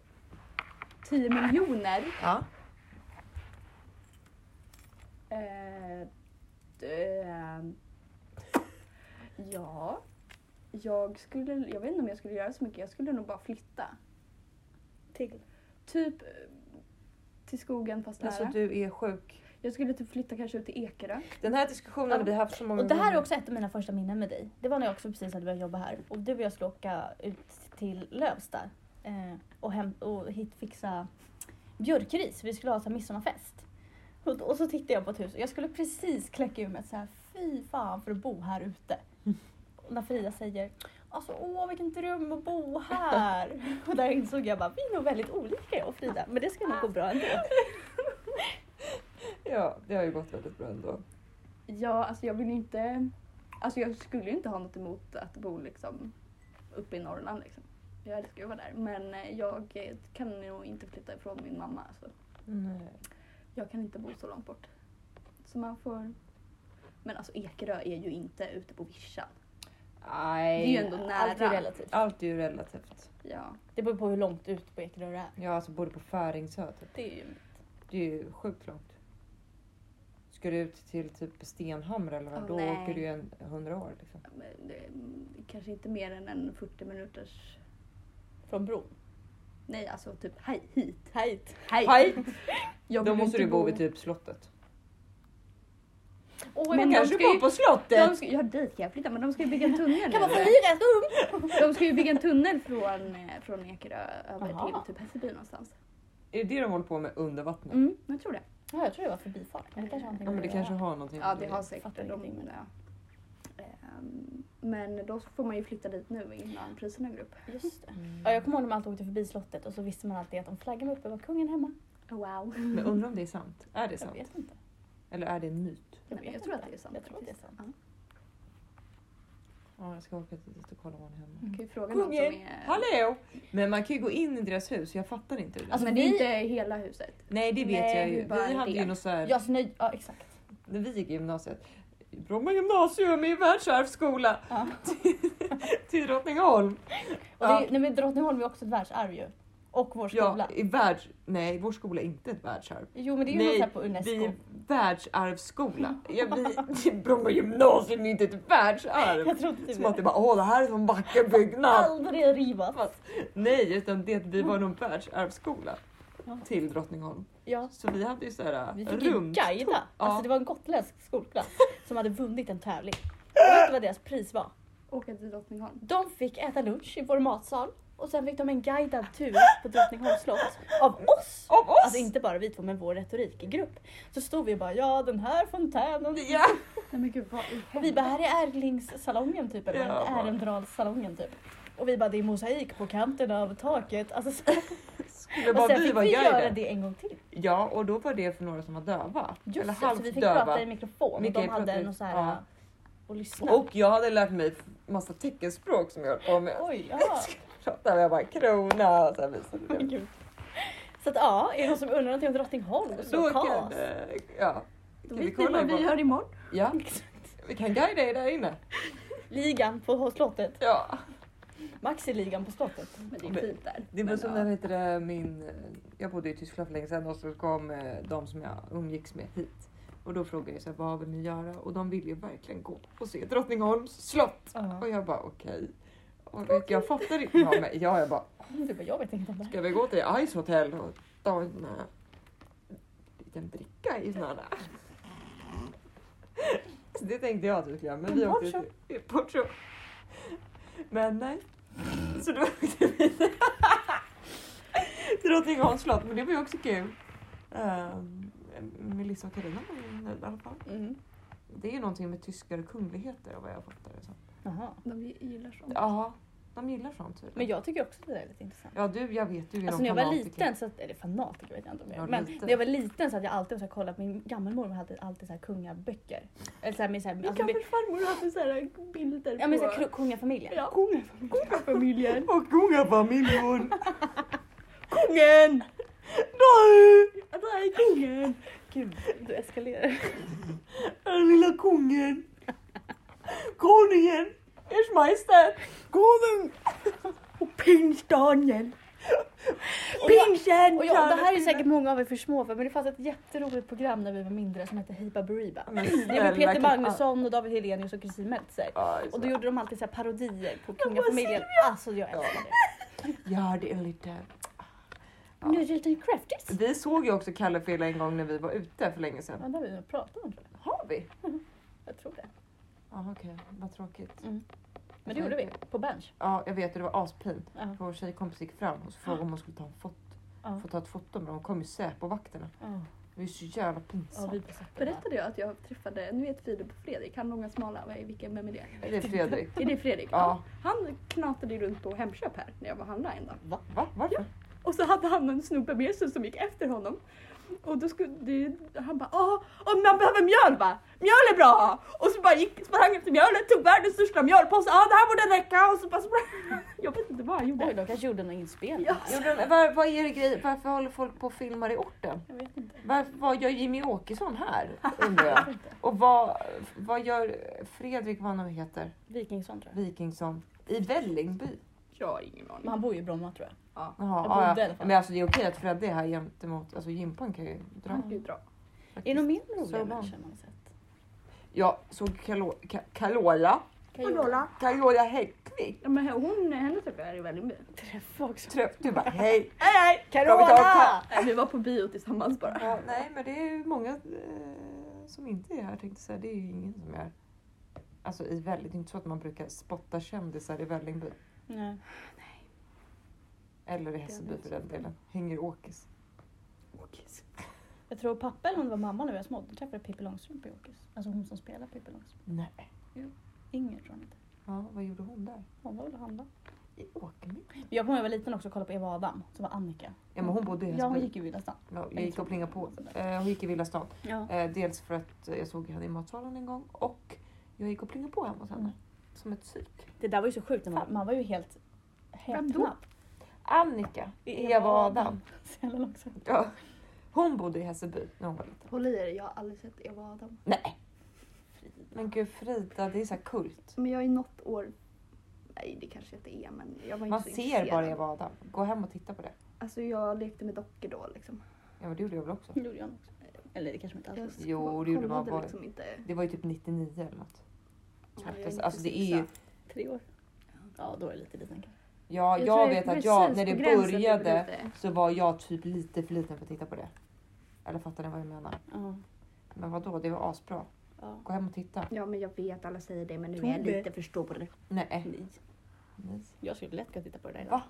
Speaker 4: 10 miljoner.
Speaker 1: Ja.
Speaker 4: Eh, d- ehm, ja. Jag skulle, jag vet inte om jag skulle göra så mycket. Jag skulle nog bara flytta.
Speaker 2: Till.
Speaker 4: Typ eh, till skogen fast nära.
Speaker 1: Alltså du är sjuk.
Speaker 4: Jag skulle typ flytta kanske ut till Ekerö.
Speaker 1: Den här diskussionen
Speaker 2: Ja.
Speaker 1: har vi haft så många
Speaker 2: Och det här är
Speaker 1: gånger.
Speaker 2: också ett av mina första minnen med dig. Det var när jag också precis hade börjat jobba här. Och du och jag skulle åka ut till Lövsta eh, och, hem, och hit fixa björkris. Vi skulle ha så här midsommarfest. Och, och så tittade jag på ett hus och jag skulle precis kläcka ur mig ett så här fy fan för att bo här ute. Och när Frida säger Alltså åh vilken dröm att bo här. Och där insåg jag bara vi är nog väldigt olika jag och Frida men det ska nog gå bra ändå.
Speaker 1: Ja, det har ju gått väldigt bra ändå.
Speaker 4: Ja, alltså jag vill ju inte... Alltså jag skulle ju inte ha något emot att bo liksom uppe i Norrland liksom. Jag älskar ju att vara där. Men eh, jag eh, kan nog inte flytta ifrån min mamma. Så
Speaker 1: Nej.
Speaker 4: jag kan inte bo så långt bort. Så man får... Men alltså Ekerö är ju inte ute på vischan.
Speaker 1: Nej.
Speaker 4: Det är ju ändå
Speaker 2: Allt är
Speaker 4: nära.
Speaker 2: relativt.
Speaker 1: Allt är ju relativt.
Speaker 4: Ja.
Speaker 2: Det beror på hur långt ut på Ekerö det är.
Speaker 1: Ja, alltså både på Färingsö typ.
Speaker 2: Det är ju
Speaker 1: Det är ju sjukt långt. Ska du ut till typ Stenhamra eller vad?
Speaker 4: Åh,
Speaker 1: då
Speaker 4: nej.
Speaker 1: åker du ju en hundra år liksom.
Speaker 4: men det- mm, Kanske inte mer än en 40 minuters...
Speaker 2: från bron.
Speaker 4: Nej, alltså typ hej, hit.
Speaker 2: Hejt.
Speaker 4: Hej!
Speaker 1: Hej!
Speaker 4: Jag vill
Speaker 1: Då
Speaker 4: ju
Speaker 1: måste
Speaker 4: inte
Speaker 1: du bo vid typ slottet.
Speaker 2: Oh,
Speaker 4: Men
Speaker 2: men
Speaker 4: de
Speaker 2: kanske
Speaker 4: ska ju-
Speaker 2: bor på
Speaker 4: De
Speaker 2: slottet.
Speaker 4: ska, ja, dit kan jag flytta men de ska ju bygga en tunnel
Speaker 2: Kan man få
Speaker 4: nu.
Speaker 2: hyra ett rum?
Speaker 4: De ska ju bygga en tunnel från, eh, från Ekerö över
Speaker 2: Jaha.
Speaker 4: till typ Hässelby någonstans.
Speaker 1: Är det det de håller på med under vattnet?
Speaker 4: Mm, jag tror det.
Speaker 2: Ja, jag tror det var förbifart. Men det kanske har
Speaker 1: Ja, men det
Speaker 2: någonting
Speaker 1: kanske
Speaker 2: att
Speaker 1: har någonting
Speaker 4: Ja,
Speaker 1: med
Speaker 4: det har säkert
Speaker 2: fattar
Speaker 4: de.
Speaker 2: ingenting.
Speaker 4: Ja. Ehm, Men då får man ju flytta dit nu innan priserna går upp.
Speaker 2: göra. Just det.
Speaker 1: Mm.
Speaker 2: Ja, jag kommer ihåg när man alltid åkte förbi slottet och så visste man alltid att om flaggan var uppe var kungen hemma.
Speaker 4: Oh, Wow.
Speaker 1: Men undrar om det är sant? Är det
Speaker 2: Jag
Speaker 1: sant?
Speaker 2: vet inte.
Speaker 1: Eller är det en myt?
Speaker 2: Jag,
Speaker 4: Jag,
Speaker 2: vet
Speaker 4: jag tror
Speaker 2: inte.
Speaker 4: att det är sant.
Speaker 2: Jag tror att det är sant.
Speaker 4: faktiskt. Ja.
Speaker 1: Ja, jag ska åka dit och kolla vad han hemma.
Speaker 4: Kan ju fråga någon som
Speaker 1: Kungen!
Speaker 4: är...
Speaker 1: Hallå! Men man kan ju gå in i deras hus, jag fattar inte hur det är.
Speaker 2: Alltså,
Speaker 4: men det är
Speaker 2: vi-
Speaker 4: inte hela huset.
Speaker 1: Nej det vet
Speaker 2: nej,
Speaker 1: jag
Speaker 4: det
Speaker 1: ju.
Speaker 4: är bara
Speaker 1: Vi hade
Speaker 4: det.
Speaker 1: ju något så här,
Speaker 2: Ja, så nej, ja exakt.
Speaker 1: när vi gick i gymnasiet, Bromma gymnasium är världsarvsskola
Speaker 2: Ja.
Speaker 1: till Drottningholm.
Speaker 2: Och det, är-
Speaker 1: Ja.
Speaker 2: nej, men Drottningholm är också ett världsarv ju. Och vår skola.
Speaker 1: Ja, i världs... Nej, vår skola är inte ett världsarv.
Speaker 2: Jo men det är ju
Speaker 1: Nej,
Speaker 2: något så här på UNESCO.
Speaker 1: Vi,
Speaker 3: världsarvsskola. Jag blir, Bromma gymnasium är inte ett världsarv.
Speaker 2: Jag trodde typ
Speaker 3: Som att det bara, åh det här är som vacker byggnad.
Speaker 2: aldrig rivas.
Speaker 3: Nej, utan det, vi var någon världsarvsskola
Speaker 2: Ja.
Speaker 3: till Drottningholm.
Speaker 2: Ja.
Speaker 3: Så vi hade ju såhär
Speaker 2: Vi fick ju
Speaker 3: runt.
Speaker 2: guida. Alltså
Speaker 3: Ja.
Speaker 2: det var en gotländsk skolklass som hade vunnit en tävling. Och vet du vad deras pris var?
Speaker 4: Åka till Drottningholm.
Speaker 2: De fick äta lunch i vår matsal och sen fick de en guidad tur på Drottningholms slott av oss.
Speaker 3: Av oss!
Speaker 2: Alltså inte bara vi två men vår retorikgrupp. Så stod vi och bara ja den här fontänen.
Speaker 3: Ja.
Speaker 4: Nej men gud vad i
Speaker 2: Vi
Speaker 4: helvete.
Speaker 2: bara här är Erlingssalongen typ eller
Speaker 3: Ja, bara.
Speaker 2: Ärendalssalongen typ. Och vi bara det är mosaik på kanten av taket. Alltså, så...
Speaker 3: Skulle
Speaker 2: Och
Speaker 3: bara
Speaker 2: sen
Speaker 3: vi
Speaker 2: fick
Speaker 3: vara
Speaker 2: vi göra
Speaker 3: guider.
Speaker 2: det en gång till.
Speaker 3: Ja, och då var det för några som var döva.
Speaker 2: Just
Speaker 3: eller
Speaker 2: det, så vi fick prata i mikrofon och
Speaker 3: Micke
Speaker 2: de hade
Speaker 3: pratade-
Speaker 2: något så här äh,
Speaker 3: ja.
Speaker 2: och lyssna.
Speaker 3: Och jag hade lärt mig massa teckenspråk som jag höll på med.
Speaker 2: Oj, ja.
Speaker 3: Pratade jag bara krona och sen visade det.
Speaker 2: Gud. Så att ja, är det någon som undrar någonting om Drottningholm så
Speaker 3: Då
Speaker 2: paus.
Speaker 3: kan, eh, ja.
Speaker 4: Då
Speaker 3: kan vi
Speaker 4: vet ni
Speaker 3: kolla
Speaker 4: vad vi
Speaker 3: på?
Speaker 4: gör imorgon.
Speaker 3: Ja, vi kan guida er där inne.
Speaker 2: Ligan på slottet.
Speaker 3: Ja.
Speaker 2: Maxi-ligan på slottet.
Speaker 4: Men det
Speaker 3: Men-
Speaker 4: är fint där.
Speaker 3: Det var
Speaker 4: Men,
Speaker 3: som
Speaker 4: ja.
Speaker 3: när heter det, min, eh, jag bodde i Tyskland för länge sedan och så kom eh, de som jag umgicks med hit. Och då frågade jag så här, vad vill ni göra? Och de ville ju verkligen gå och se Drottningholms slott. Och jag bara okej. Och vet, jag fattar inte. Ja, men ja, jag bara
Speaker 2: Du typ bara, jag vet inget om det här.
Speaker 3: Ska vi gå till Ice Hotel och ta en eh, liten dricka i såna där? Så det tänkte jag att vi skulle göra, men vi
Speaker 2: En
Speaker 3: åkte
Speaker 2: Porto.
Speaker 3: till Porto. Men nej. Så då åkte vi till Drottningholms slott, men det var ju också kul. Ehm, Melissa och Carina var ju nöjda i alla fall.
Speaker 2: Mm.
Speaker 3: Det är ju någonting med tyskar och kungligheter vad jag fattar det
Speaker 2: Mm.
Speaker 3: som.
Speaker 2: Jaha.
Speaker 4: De gillar sånt.
Speaker 3: Ja, de gillar sånt
Speaker 2: Men
Speaker 3: tydligen.
Speaker 2: jag tycker också att det där är lite intressant.
Speaker 3: Ja du, jag vet du är
Speaker 2: Alltså
Speaker 3: någon
Speaker 2: när jag var
Speaker 3: fanatiker.
Speaker 2: liten, så att, eller fanatiker vet jag inte om jag är,
Speaker 3: Ja,
Speaker 2: men
Speaker 3: liten.
Speaker 2: när jag var liten så hade jag alltid så här kollat, min gammelmormor hade alltid så här kungaböcker. Eller så här med så här, alltså, med,
Speaker 4: farmor hade så här bilder
Speaker 2: ja men så här kru- kungafamiljen.
Speaker 4: Ja. Kungafamiljen.
Speaker 3: Och kungafamiljen!
Speaker 2: Kungen!
Speaker 3: Nej!
Speaker 2: Där är kungen! Gud, du eskalerar.
Speaker 3: Den lilla kungen! Konungen! Ers Majestät! Konung!
Speaker 2: Och prins-Daniel!
Speaker 4: Pingsen!
Speaker 2: Och jag, det här är säkert många av er för små för men det fanns ett jätteroligt program när vi var mindre som hette Hipa Buriba. Det var Peter Magnusson och David Hellenius och Kristin Meltzer. Och då gjorde de alltid Ah. så här parodier på kungafamiljen. Alltså jag älskar det.
Speaker 3: Ja, det är lite... Ja.
Speaker 2: Nu är det lite crafties.
Speaker 3: Vi såg ju också Kalle Fela en gång när vi var ute för länge
Speaker 2: Ja,
Speaker 3: sedan.
Speaker 2: det har vi nog pratat om tror jag.
Speaker 3: Har vi?
Speaker 2: Jag tror det.
Speaker 3: Ja, okej. Vad tråkigt.
Speaker 2: Men det gjorde vi på bench.
Speaker 3: Mm. Ja, jag vet. och Det var aspint.
Speaker 2: Ja.
Speaker 3: Vår tjejkompis gick fram och så frågade om hon skulle ta, en fot,
Speaker 2: Ja.
Speaker 3: få ta ett foto men hon kom ju Säpo-vakterna.
Speaker 2: Ja.
Speaker 3: Det var ju så jävla
Speaker 2: Ja,
Speaker 3: pinsamt.
Speaker 2: vi på Säpo.
Speaker 4: Berättade jag att jag träffade, nu vet Filip och Fredrik, han långa smala, vad är- vilken, vem är det?
Speaker 3: Är det Fredrik?
Speaker 4: Är det Fredrik?
Speaker 3: Ja.
Speaker 4: Han knatade ju runt på Hemköp här när jag var handlare en dag.
Speaker 3: Va? Varför?
Speaker 4: Och så hade han en snubbe med sig som gick efter honom. Och då skulle, det, han bara åh, åh, man behöver mjöl va? Mjöl är bra! Och så bara gick, sprang efter mjölet, tog världens största mjölpåse, ja det här borde räcka! Och så bara sprang. Jag vet inte vad han gjorde.
Speaker 2: Oj, de kanske gjorde någon inspelning.
Speaker 4: Ja.
Speaker 3: Gjorde de, var, vad är det grej, varför håller folk på och filmar i orten?
Speaker 2: Jag vet inte.
Speaker 3: Varför, vad gör Jimmy Åkesson här? Undrar jag. Och vad, vad gör Fredrik, vad han nu heter,
Speaker 2: Vikingsson tror jag.
Speaker 3: Wikingsson, i Vällingby?
Speaker 4: Jag har ingen aning.
Speaker 2: Men han bor ju i Bromma tror jag.
Speaker 4: Ja.
Speaker 3: Jaha,
Speaker 2: Jag
Speaker 3: ja,
Speaker 2: bodde i
Speaker 3: ja.
Speaker 2: alla fall.
Speaker 3: Men alltså det är okej att Fredde är här gentemot, alltså Jimpan kan ju dra.
Speaker 4: Det är bra.
Speaker 2: Är det någon mer
Speaker 3: Så
Speaker 2: rolig
Speaker 3: lång.
Speaker 2: människa man har sett?
Speaker 3: Jag såg Kalo, Ka, Kalola,
Speaker 4: Lola.
Speaker 3: Kalola Häggkvik.
Speaker 4: Ja, men hon, henne träffade jag här i Vällingby.
Speaker 2: Träffa också.
Speaker 3: Trö- Du bara hej.
Speaker 4: Nej, nej!
Speaker 3: Ska vi ta
Speaker 2: Carola!
Speaker 3: en
Speaker 4: Nej, Vi var på bio tillsammans bara.
Speaker 3: Ja, nej men det är ju många eh, som inte är här tänkte jag säga. Det är ju ingen som är här. Alltså i Vällingby, det är inte så att man brukar spotta kändisar i Vällingby.
Speaker 2: Nej.
Speaker 3: Eller i Hässelby för den delen. Hänger Åkes.
Speaker 2: Jag tror pappa eller om det var mamma när vi var små, då träffade jag Pippi Långstrump på Åkes. Alltså hon som spelar Pippi Långstrump.
Speaker 3: Nej.
Speaker 2: Inger tror jag inte.
Speaker 3: Ja, vad gjorde hon där?
Speaker 2: Hon var väl och handlade.
Speaker 3: I Åkerby?
Speaker 2: Men Jag kommer ihåg när jag var liten också och kollade på Eva Adam, som var Annika.
Speaker 3: Ja men hon bodde i
Speaker 2: Ja, hon
Speaker 3: Hässelby.
Speaker 2: gick ju i Vilda stan.
Speaker 3: Ja, jag gick och plingade på. Eh, Hon gick i Villa stan.
Speaker 2: Ja.
Speaker 3: Eh, Dels för att eh, jag såg henne i matsalen en gång och jag gick och plingade på hemma hos henne. Som ett psyk.
Speaker 2: Det där var ju så sjukt, man, man var ju helt
Speaker 4: Vem då?
Speaker 2: häpnad.
Speaker 3: Annika, Eva Adam.
Speaker 2: Så jävla långsamt.
Speaker 3: Ja. Hon bodde i Hässelby när hon var liten.
Speaker 4: Håll i er, jag har aldrig sett Eva och Adam.
Speaker 3: Nej! Men gud Frida, det är så här kult.
Speaker 4: Men jag är något år... Nej, det kanske jag inte är, men jag var inte
Speaker 3: Man
Speaker 4: så
Speaker 3: ser
Speaker 4: intresserad.
Speaker 3: bara Eva Adam. Gå hem och titta på det.
Speaker 4: Alltså jag lekte med dockor då liksom.
Speaker 3: Ja men det gjorde jag väl också.
Speaker 2: Det gjorde jag nog också. Eller det kanske man inte alls
Speaker 4: Jag
Speaker 2: visste.
Speaker 3: Jo, det gjorde man
Speaker 4: kollade
Speaker 3: bara.
Speaker 4: liksom inte.
Speaker 3: Det var ju typ 99 eller något.
Speaker 4: Ja, jag är
Speaker 3: Alltså,
Speaker 4: inte
Speaker 3: alltså, det
Speaker 4: precis
Speaker 3: är ju-
Speaker 4: exakt.
Speaker 2: Tre år. Ja, då är det lite liten kanske.
Speaker 3: Ja, jag,
Speaker 4: tror är
Speaker 3: vet att
Speaker 4: precis
Speaker 3: jag, när
Speaker 4: på
Speaker 3: det
Speaker 4: gränsen till
Speaker 3: började
Speaker 4: lite.
Speaker 3: så var jag typ lite för liten för att titta på det. Eller fattar ni vad jag menar?
Speaker 2: Ja.
Speaker 3: Men vadå, det var asbra.
Speaker 2: ja.
Speaker 3: Gå hem och titta.
Speaker 4: Ja men jag vet, alla säger det men nu är jag
Speaker 2: Tobbe.
Speaker 4: lite förstå på det.
Speaker 3: Nej.
Speaker 2: Nej.
Speaker 3: Nej.
Speaker 2: Jag skulle lätt kunna titta på det där
Speaker 3: Va?
Speaker 2: idag.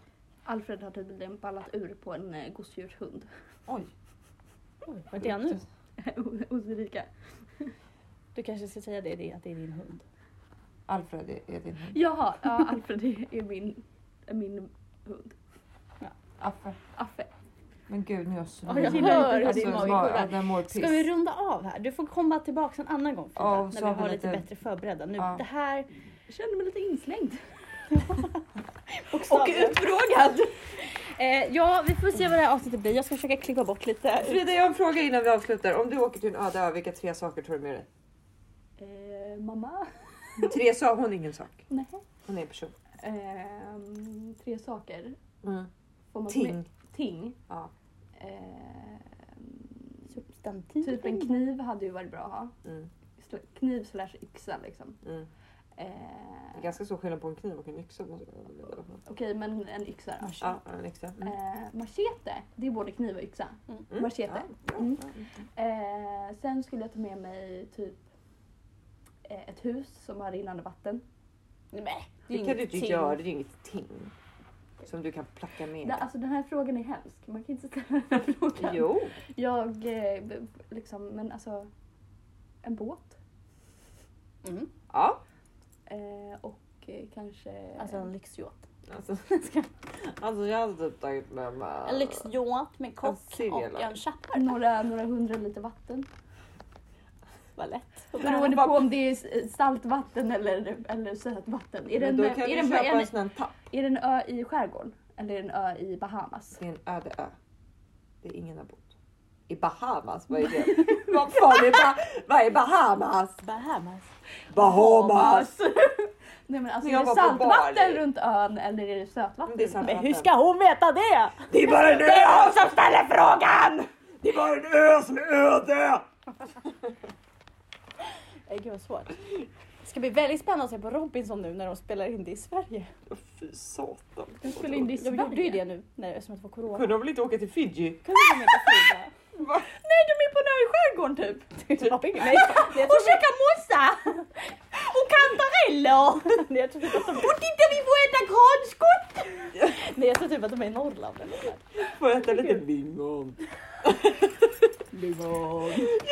Speaker 4: Alfred har tydligen ballat ur på en eh, gosedjurshund
Speaker 3: Oj.
Speaker 2: Oj, vart är han nu?
Speaker 4: hos Erika.
Speaker 2: Du kanske ska säga det, det, att det är din hund.
Speaker 3: Alfred är, är din hund.
Speaker 4: Jaha, ja, Alfred är- är min, är min hund.
Speaker 3: Affe.
Speaker 4: Affe.
Speaker 3: Men gud, nu är jag
Speaker 2: Ja, jag
Speaker 3: svimmig.
Speaker 2: hör hur din
Speaker 3: Alltså,
Speaker 2: mage
Speaker 3: var-
Speaker 2: kurrar.
Speaker 3: ja, den mår piss.
Speaker 2: Ska vi runda av här? Du får komma tillbaka en annan gång Frida,
Speaker 3: Ja, och
Speaker 2: när
Speaker 3: så
Speaker 2: vi
Speaker 3: har vi
Speaker 2: har lite
Speaker 3: lite-
Speaker 2: bättre förberedda. Nu,
Speaker 3: Ja.
Speaker 2: Det här
Speaker 4: Jag känner mig lite inslängd.
Speaker 2: och utfrågad! eh, ja, vi får se vad det här avsnittet blir. Jag ska försöka klippa bort lite.
Speaker 3: Frida, jag har en fråga innan vi avslutar. Om du åker till en öde ö, vilka tre saker tar du med dig?
Speaker 4: Eh, mamma.
Speaker 3: Tre saker, hon är ingen sak.
Speaker 4: Nej.
Speaker 3: Hon är en person.
Speaker 4: Ehm, tre saker. Får man ta med-
Speaker 3: Mm. Ting.
Speaker 4: Ting.
Speaker 3: Ja.
Speaker 4: Ehm,
Speaker 2: Substantiv.
Speaker 4: typ en kniv hade ju varit bra att ha.
Speaker 3: Mm.
Speaker 4: Sl- Kniv slash yxa liksom.
Speaker 3: Mm. Det är
Speaker 4: Eh,
Speaker 3: ganska stor skillnad på en kniv och en yxa. måste jag väl veta.
Speaker 4: Okej men en yxa då.
Speaker 3: Ja, en yxa. Mm.
Speaker 4: Eh, machete, det är både kniv och yxa.
Speaker 2: Mm.
Speaker 3: Mm.
Speaker 4: Machete.
Speaker 3: Ja, bra.
Speaker 4: Mm.
Speaker 3: Ja.
Speaker 4: Eh, sen skulle jag ta med mig typ eh, ett hus som har rinnande vatten.
Speaker 3: Mm.
Speaker 2: Nej,
Speaker 3: Det kan du inte
Speaker 2: ingenting.
Speaker 3: göra, det är inget ting. Som du kan placka med.
Speaker 4: Det, alltså den här frågan är hemsk, man kan inte ställa den här frågan.
Speaker 3: Jo,
Speaker 4: Jag eh, b- liksom, men alltså en båt.
Speaker 2: Mm.
Speaker 3: ja.
Speaker 4: Eh, och eh, kanske...
Speaker 2: Alltså en lyxjåt.
Speaker 3: Alltså, alltså jag hade typ tagit med mig...
Speaker 2: En lyxjåt med
Speaker 3: En
Speaker 2: kock
Speaker 3: serial.
Speaker 2: och en chapp.
Speaker 4: några, några hundra liter vatten.
Speaker 2: Vad lätt.
Speaker 4: Beroende på om det är s- saltvatten eller, eller sötvatten. Är det,
Speaker 3: Men
Speaker 4: en,
Speaker 3: då
Speaker 4: är,
Speaker 3: kan du
Speaker 4: det en,
Speaker 3: köpa en,
Speaker 4: är,
Speaker 3: sån här tapp.
Speaker 4: det en ö i skärgården? Eller är det en ö i Bahamas?
Speaker 3: Det är en öde ö. Det är ingen har bott. I Bahamas, vad är det? vad fan är, ba vad är Bahamas?
Speaker 2: Bahamas.
Speaker 3: Bahamas!
Speaker 4: Nej men alltså
Speaker 3: Men jag
Speaker 4: är det
Speaker 3: var på
Speaker 4: saltvatten
Speaker 3: Bali.
Speaker 4: runt ön eller är det sötvatten?
Speaker 3: Det är sant.
Speaker 2: Men hur ska hon veta det?
Speaker 3: Det är bara en ö!
Speaker 2: som ställer frågan!
Speaker 3: Det är bara en ö som är öde!
Speaker 2: Eh, Gud vad svårt. Det ska bli väldigt spännande att se på Robinson nu när de spelar in det i Sverige.
Speaker 3: Åh, Fy satan.
Speaker 4: De spelar in det i
Speaker 2: De gjorde ju
Speaker 4: Sverige.
Speaker 2: det nu när, som att det var corona.
Speaker 3: Kunde de väl inte åka till Fiji?
Speaker 2: Kunde de inte flyga?
Speaker 3: Va?
Speaker 4: Nej de är på en ö i skärgården typ!
Speaker 2: Typ. Nej, jag tror
Speaker 4: käka mossa!
Speaker 2: Och kantareller! Nej, jag tror typ att de... Och titta vi får äta granskott! Nej jag tror typ att de är i Norrland eller något sånt.
Speaker 3: Får jag äta lite lingon?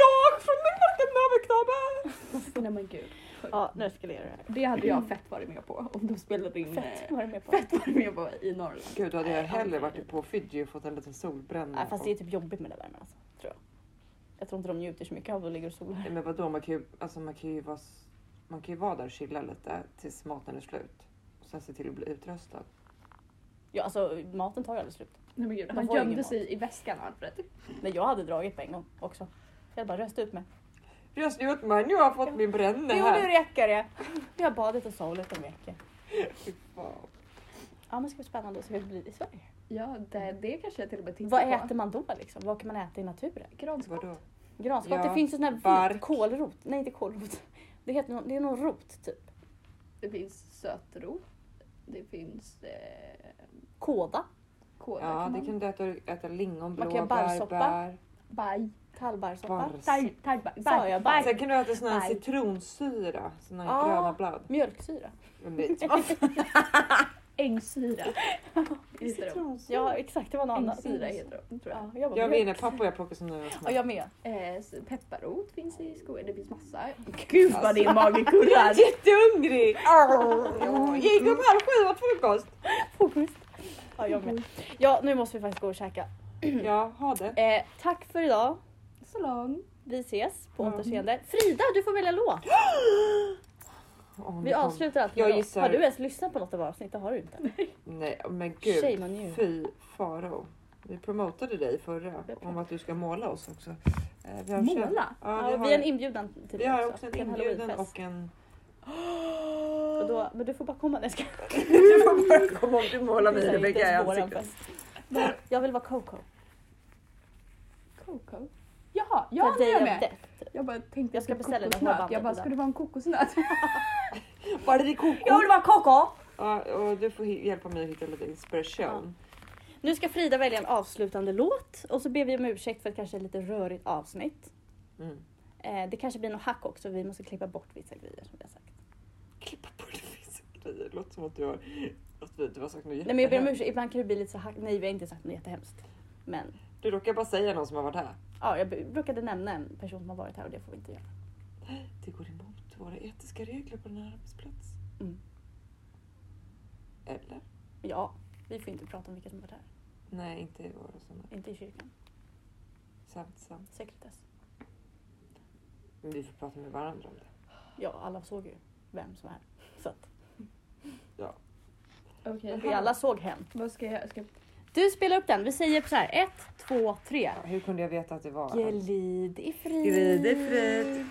Speaker 3: Jag som är liten navelknabbe!
Speaker 4: Nej men gud.
Speaker 2: Ja nu ska jag göra det här.
Speaker 4: Det hade jag fett varit med på om de spelade in
Speaker 2: Fett
Speaker 4: eh,
Speaker 2: var det med på.
Speaker 4: fett varit med på i Norrland.
Speaker 3: Gud, då hade jag hellre varit på Fiji och fått en liten solbränna.
Speaker 2: Nej, fast det är typ jobbigt med den värmen alltså, tror jag. Jag tror inte de njuter så mycket av att ligga och sola.
Speaker 3: Nej, Men vadå, man kan ju, alltså, man kan ju, vara, s- man kan ju vara där och chilla lite tills maten är slut. Och sen se till att bli utröstad.
Speaker 2: Ja, alltså maten tar ju aldrig slut.
Speaker 4: Nej men gud,
Speaker 2: De
Speaker 4: han
Speaker 2: får ju
Speaker 4: gömde
Speaker 2: ingen
Speaker 4: sig i väskan Alfred.
Speaker 2: Nej, jag hade dragit på en gång också. Jag hade bara röst ut mig.
Speaker 3: Röst nu åt mig, nu har jag fått min bränna
Speaker 2: Jo nu
Speaker 3: här.
Speaker 2: räcker det! Vi har badet och solet en vecka.
Speaker 3: Fy fan.
Speaker 2: Ja men det ska bli spännande att se hur det blir i Sverige.
Speaker 4: Ja det, det kanske jag till och med tittar
Speaker 2: Vad
Speaker 4: på.
Speaker 2: äter man då liksom? Vad kan man äta i naturen?
Speaker 4: Granskott.
Speaker 3: Vadå?
Speaker 2: Granskott,
Speaker 3: Ja,
Speaker 2: det finns en sån här
Speaker 3: bark.
Speaker 2: vit kålrot. Nej inte kålrot. Det, heter någon, det är någon rot typ.
Speaker 4: Det finns sötrot. Det finns eh,
Speaker 2: Kåda,
Speaker 4: kåda.
Speaker 3: Ja,
Speaker 4: kan
Speaker 3: det
Speaker 4: man-
Speaker 3: kan du äta, äta lingon,
Speaker 2: Man kan göra
Speaker 3: blåbär,
Speaker 2: bärsoppa.
Speaker 3: bär.
Speaker 4: Baj.
Speaker 2: tallbarrsoppa,
Speaker 3: Bars.
Speaker 4: Taj, taj, baj.
Speaker 2: Sa jag
Speaker 4: baj.
Speaker 3: Sen kan du äta sån här
Speaker 4: Bär.
Speaker 3: citronsyra, sån här
Speaker 2: Ah.
Speaker 3: gröna blad.
Speaker 2: mjölksyra.
Speaker 3: En bit.
Speaker 4: Ängsyra. heter de.
Speaker 2: Ja
Speaker 3: Mm.
Speaker 2: exakt, det var något annat.
Speaker 4: Ängsyra heter de tror jag.
Speaker 2: Ja, jag var
Speaker 3: Jag var
Speaker 2: mjölk.
Speaker 3: inne, pappa och jag plockade såna där små.
Speaker 2: Ja, jag med.
Speaker 4: Eh, s- pepparrot finns i skogen. Det finns massa.
Speaker 2: Gud
Speaker 3: vad
Speaker 2: din mage
Speaker 3: Jag är jättehungrig! Jag gick upp halv sju och åt frukost.
Speaker 2: Ja, jag med. Ja, nu måste vi faktiskt gå och käka.
Speaker 3: Ja, ha det.
Speaker 2: Eh, tack för idag.
Speaker 4: Så lång.
Speaker 2: Vi ses på
Speaker 3: Mm.
Speaker 2: återseende. Frida, du får välja låt.
Speaker 3: Åh, nu
Speaker 2: Vi
Speaker 3: kom-
Speaker 2: avslutar alltid
Speaker 3: Jag
Speaker 2: med låt.
Speaker 3: gissar-
Speaker 2: Har du ens lyssnat på något av våra avsnitt? Det har du inte.
Speaker 3: Nej men
Speaker 2: Shame on you.
Speaker 3: gud, fy farao. Vi promotade dig förra
Speaker 2: Det är bra.
Speaker 3: om att du ska måla oss också. Eh, Vi har köpt-
Speaker 4: Måla.
Speaker 3: Ja,
Speaker 2: Ja,
Speaker 3: vi,
Speaker 2: vi
Speaker 3: har,
Speaker 2: har en inbjudan till
Speaker 3: vi
Speaker 2: dig
Speaker 3: har också en
Speaker 2: till
Speaker 3: inbjudan
Speaker 2: halloweenfest.
Speaker 3: och en...
Speaker 2: Och då, men du får bara komma. Nej, jag skojar.
Speaker 3: Du får bara komma om du målar
Speaker 2: Det
Speaker 3: mig
Speaker 2: är inte
Speaker 3: Rebecka i
Speaker 2: ens våran
Speaker 3: ansiktet.
Speaker 2: fest. Jag vill vara Coco.
Speaker 4: Coco.
Speaker 2: Jaha!
Speaker 4: Ja, ja
Speaker 2: för
Speaker 4: det
Speaker 2: Day
Speaker 4: gör
Speaker 2: of
Speaker 4: jag med.
Speaker 2: Death.
Speaker 4: Jag bara tänkte
Speaker 2: Jag ska
Speaker 4: typ
Speaker 2: beställa det här
Speaker 4: kokosnöt.
Speaker 2: bandet
Speaker 4: Jag bara,
Speaker 2: idag.
Speaker 4: ska det vara en kokosnöt?
Speaker 3: Var det det koko?
Speaker 2: Jag vill vara koko!
Speaker 3: Ja, och du får hi- hjälpa mig att hitta lite inspiration.
Speaker 2: Nu ska Frida välja en avslutande låt och så ber vi om ursäkt för ett kanske lite rörigt avsnitt.
Speaker 3: Mm.
Speaker 2: Eh, det kanske blir något hack också, vi måste klippa bort vissa grejer som vi har sagt.
Speaker 3: Klippa bort vissa grejer. Det låter som att du har, att vi- du har sagt något
Speaker 2: Nej men jag ber om
Speaker 3: jättehemskt.
Speaker 2: ursäkt, ibland kan det bli lite så hack. Nej vi har inte sagt något jättehemskt. Men
Speaker 3: Du råkar bara säga någon som har varit här.
Speaker 2: ja, jag b- brukade nämna en person som har varit här och det får vi inte göra.
Speaker 3: Det går emot våra etiska regler på den här arbetsplatsen.
Speaker 2: Mm.
Speaker 3: Eller?
Speaker 2: Ja, vi får inte prata om vilka som har varit här.
Speaker 3: Nej, inte i våra sådana.
Speaker 2: Inte i kyrkan.
Speaker 3: Sant, sant.
Speaker 2: Sekretess.
Speaker 3: Men vi får prata med varandra om det.
Speaker 2: Ja, alla såg ju vem som är här. Så att
Speaker 4: Okej,
Speaker 2: vi alla såg hen.
Speaker 4: vad ska jag... Ska jag
Speaker 2: Du spelar upp den. Vi säger så här. Ett, två, tre.
Speaker 1: Hur kunde jag veta att det var?
Speaker 2: Glid i frid.
Speaker 3: Glid i frid.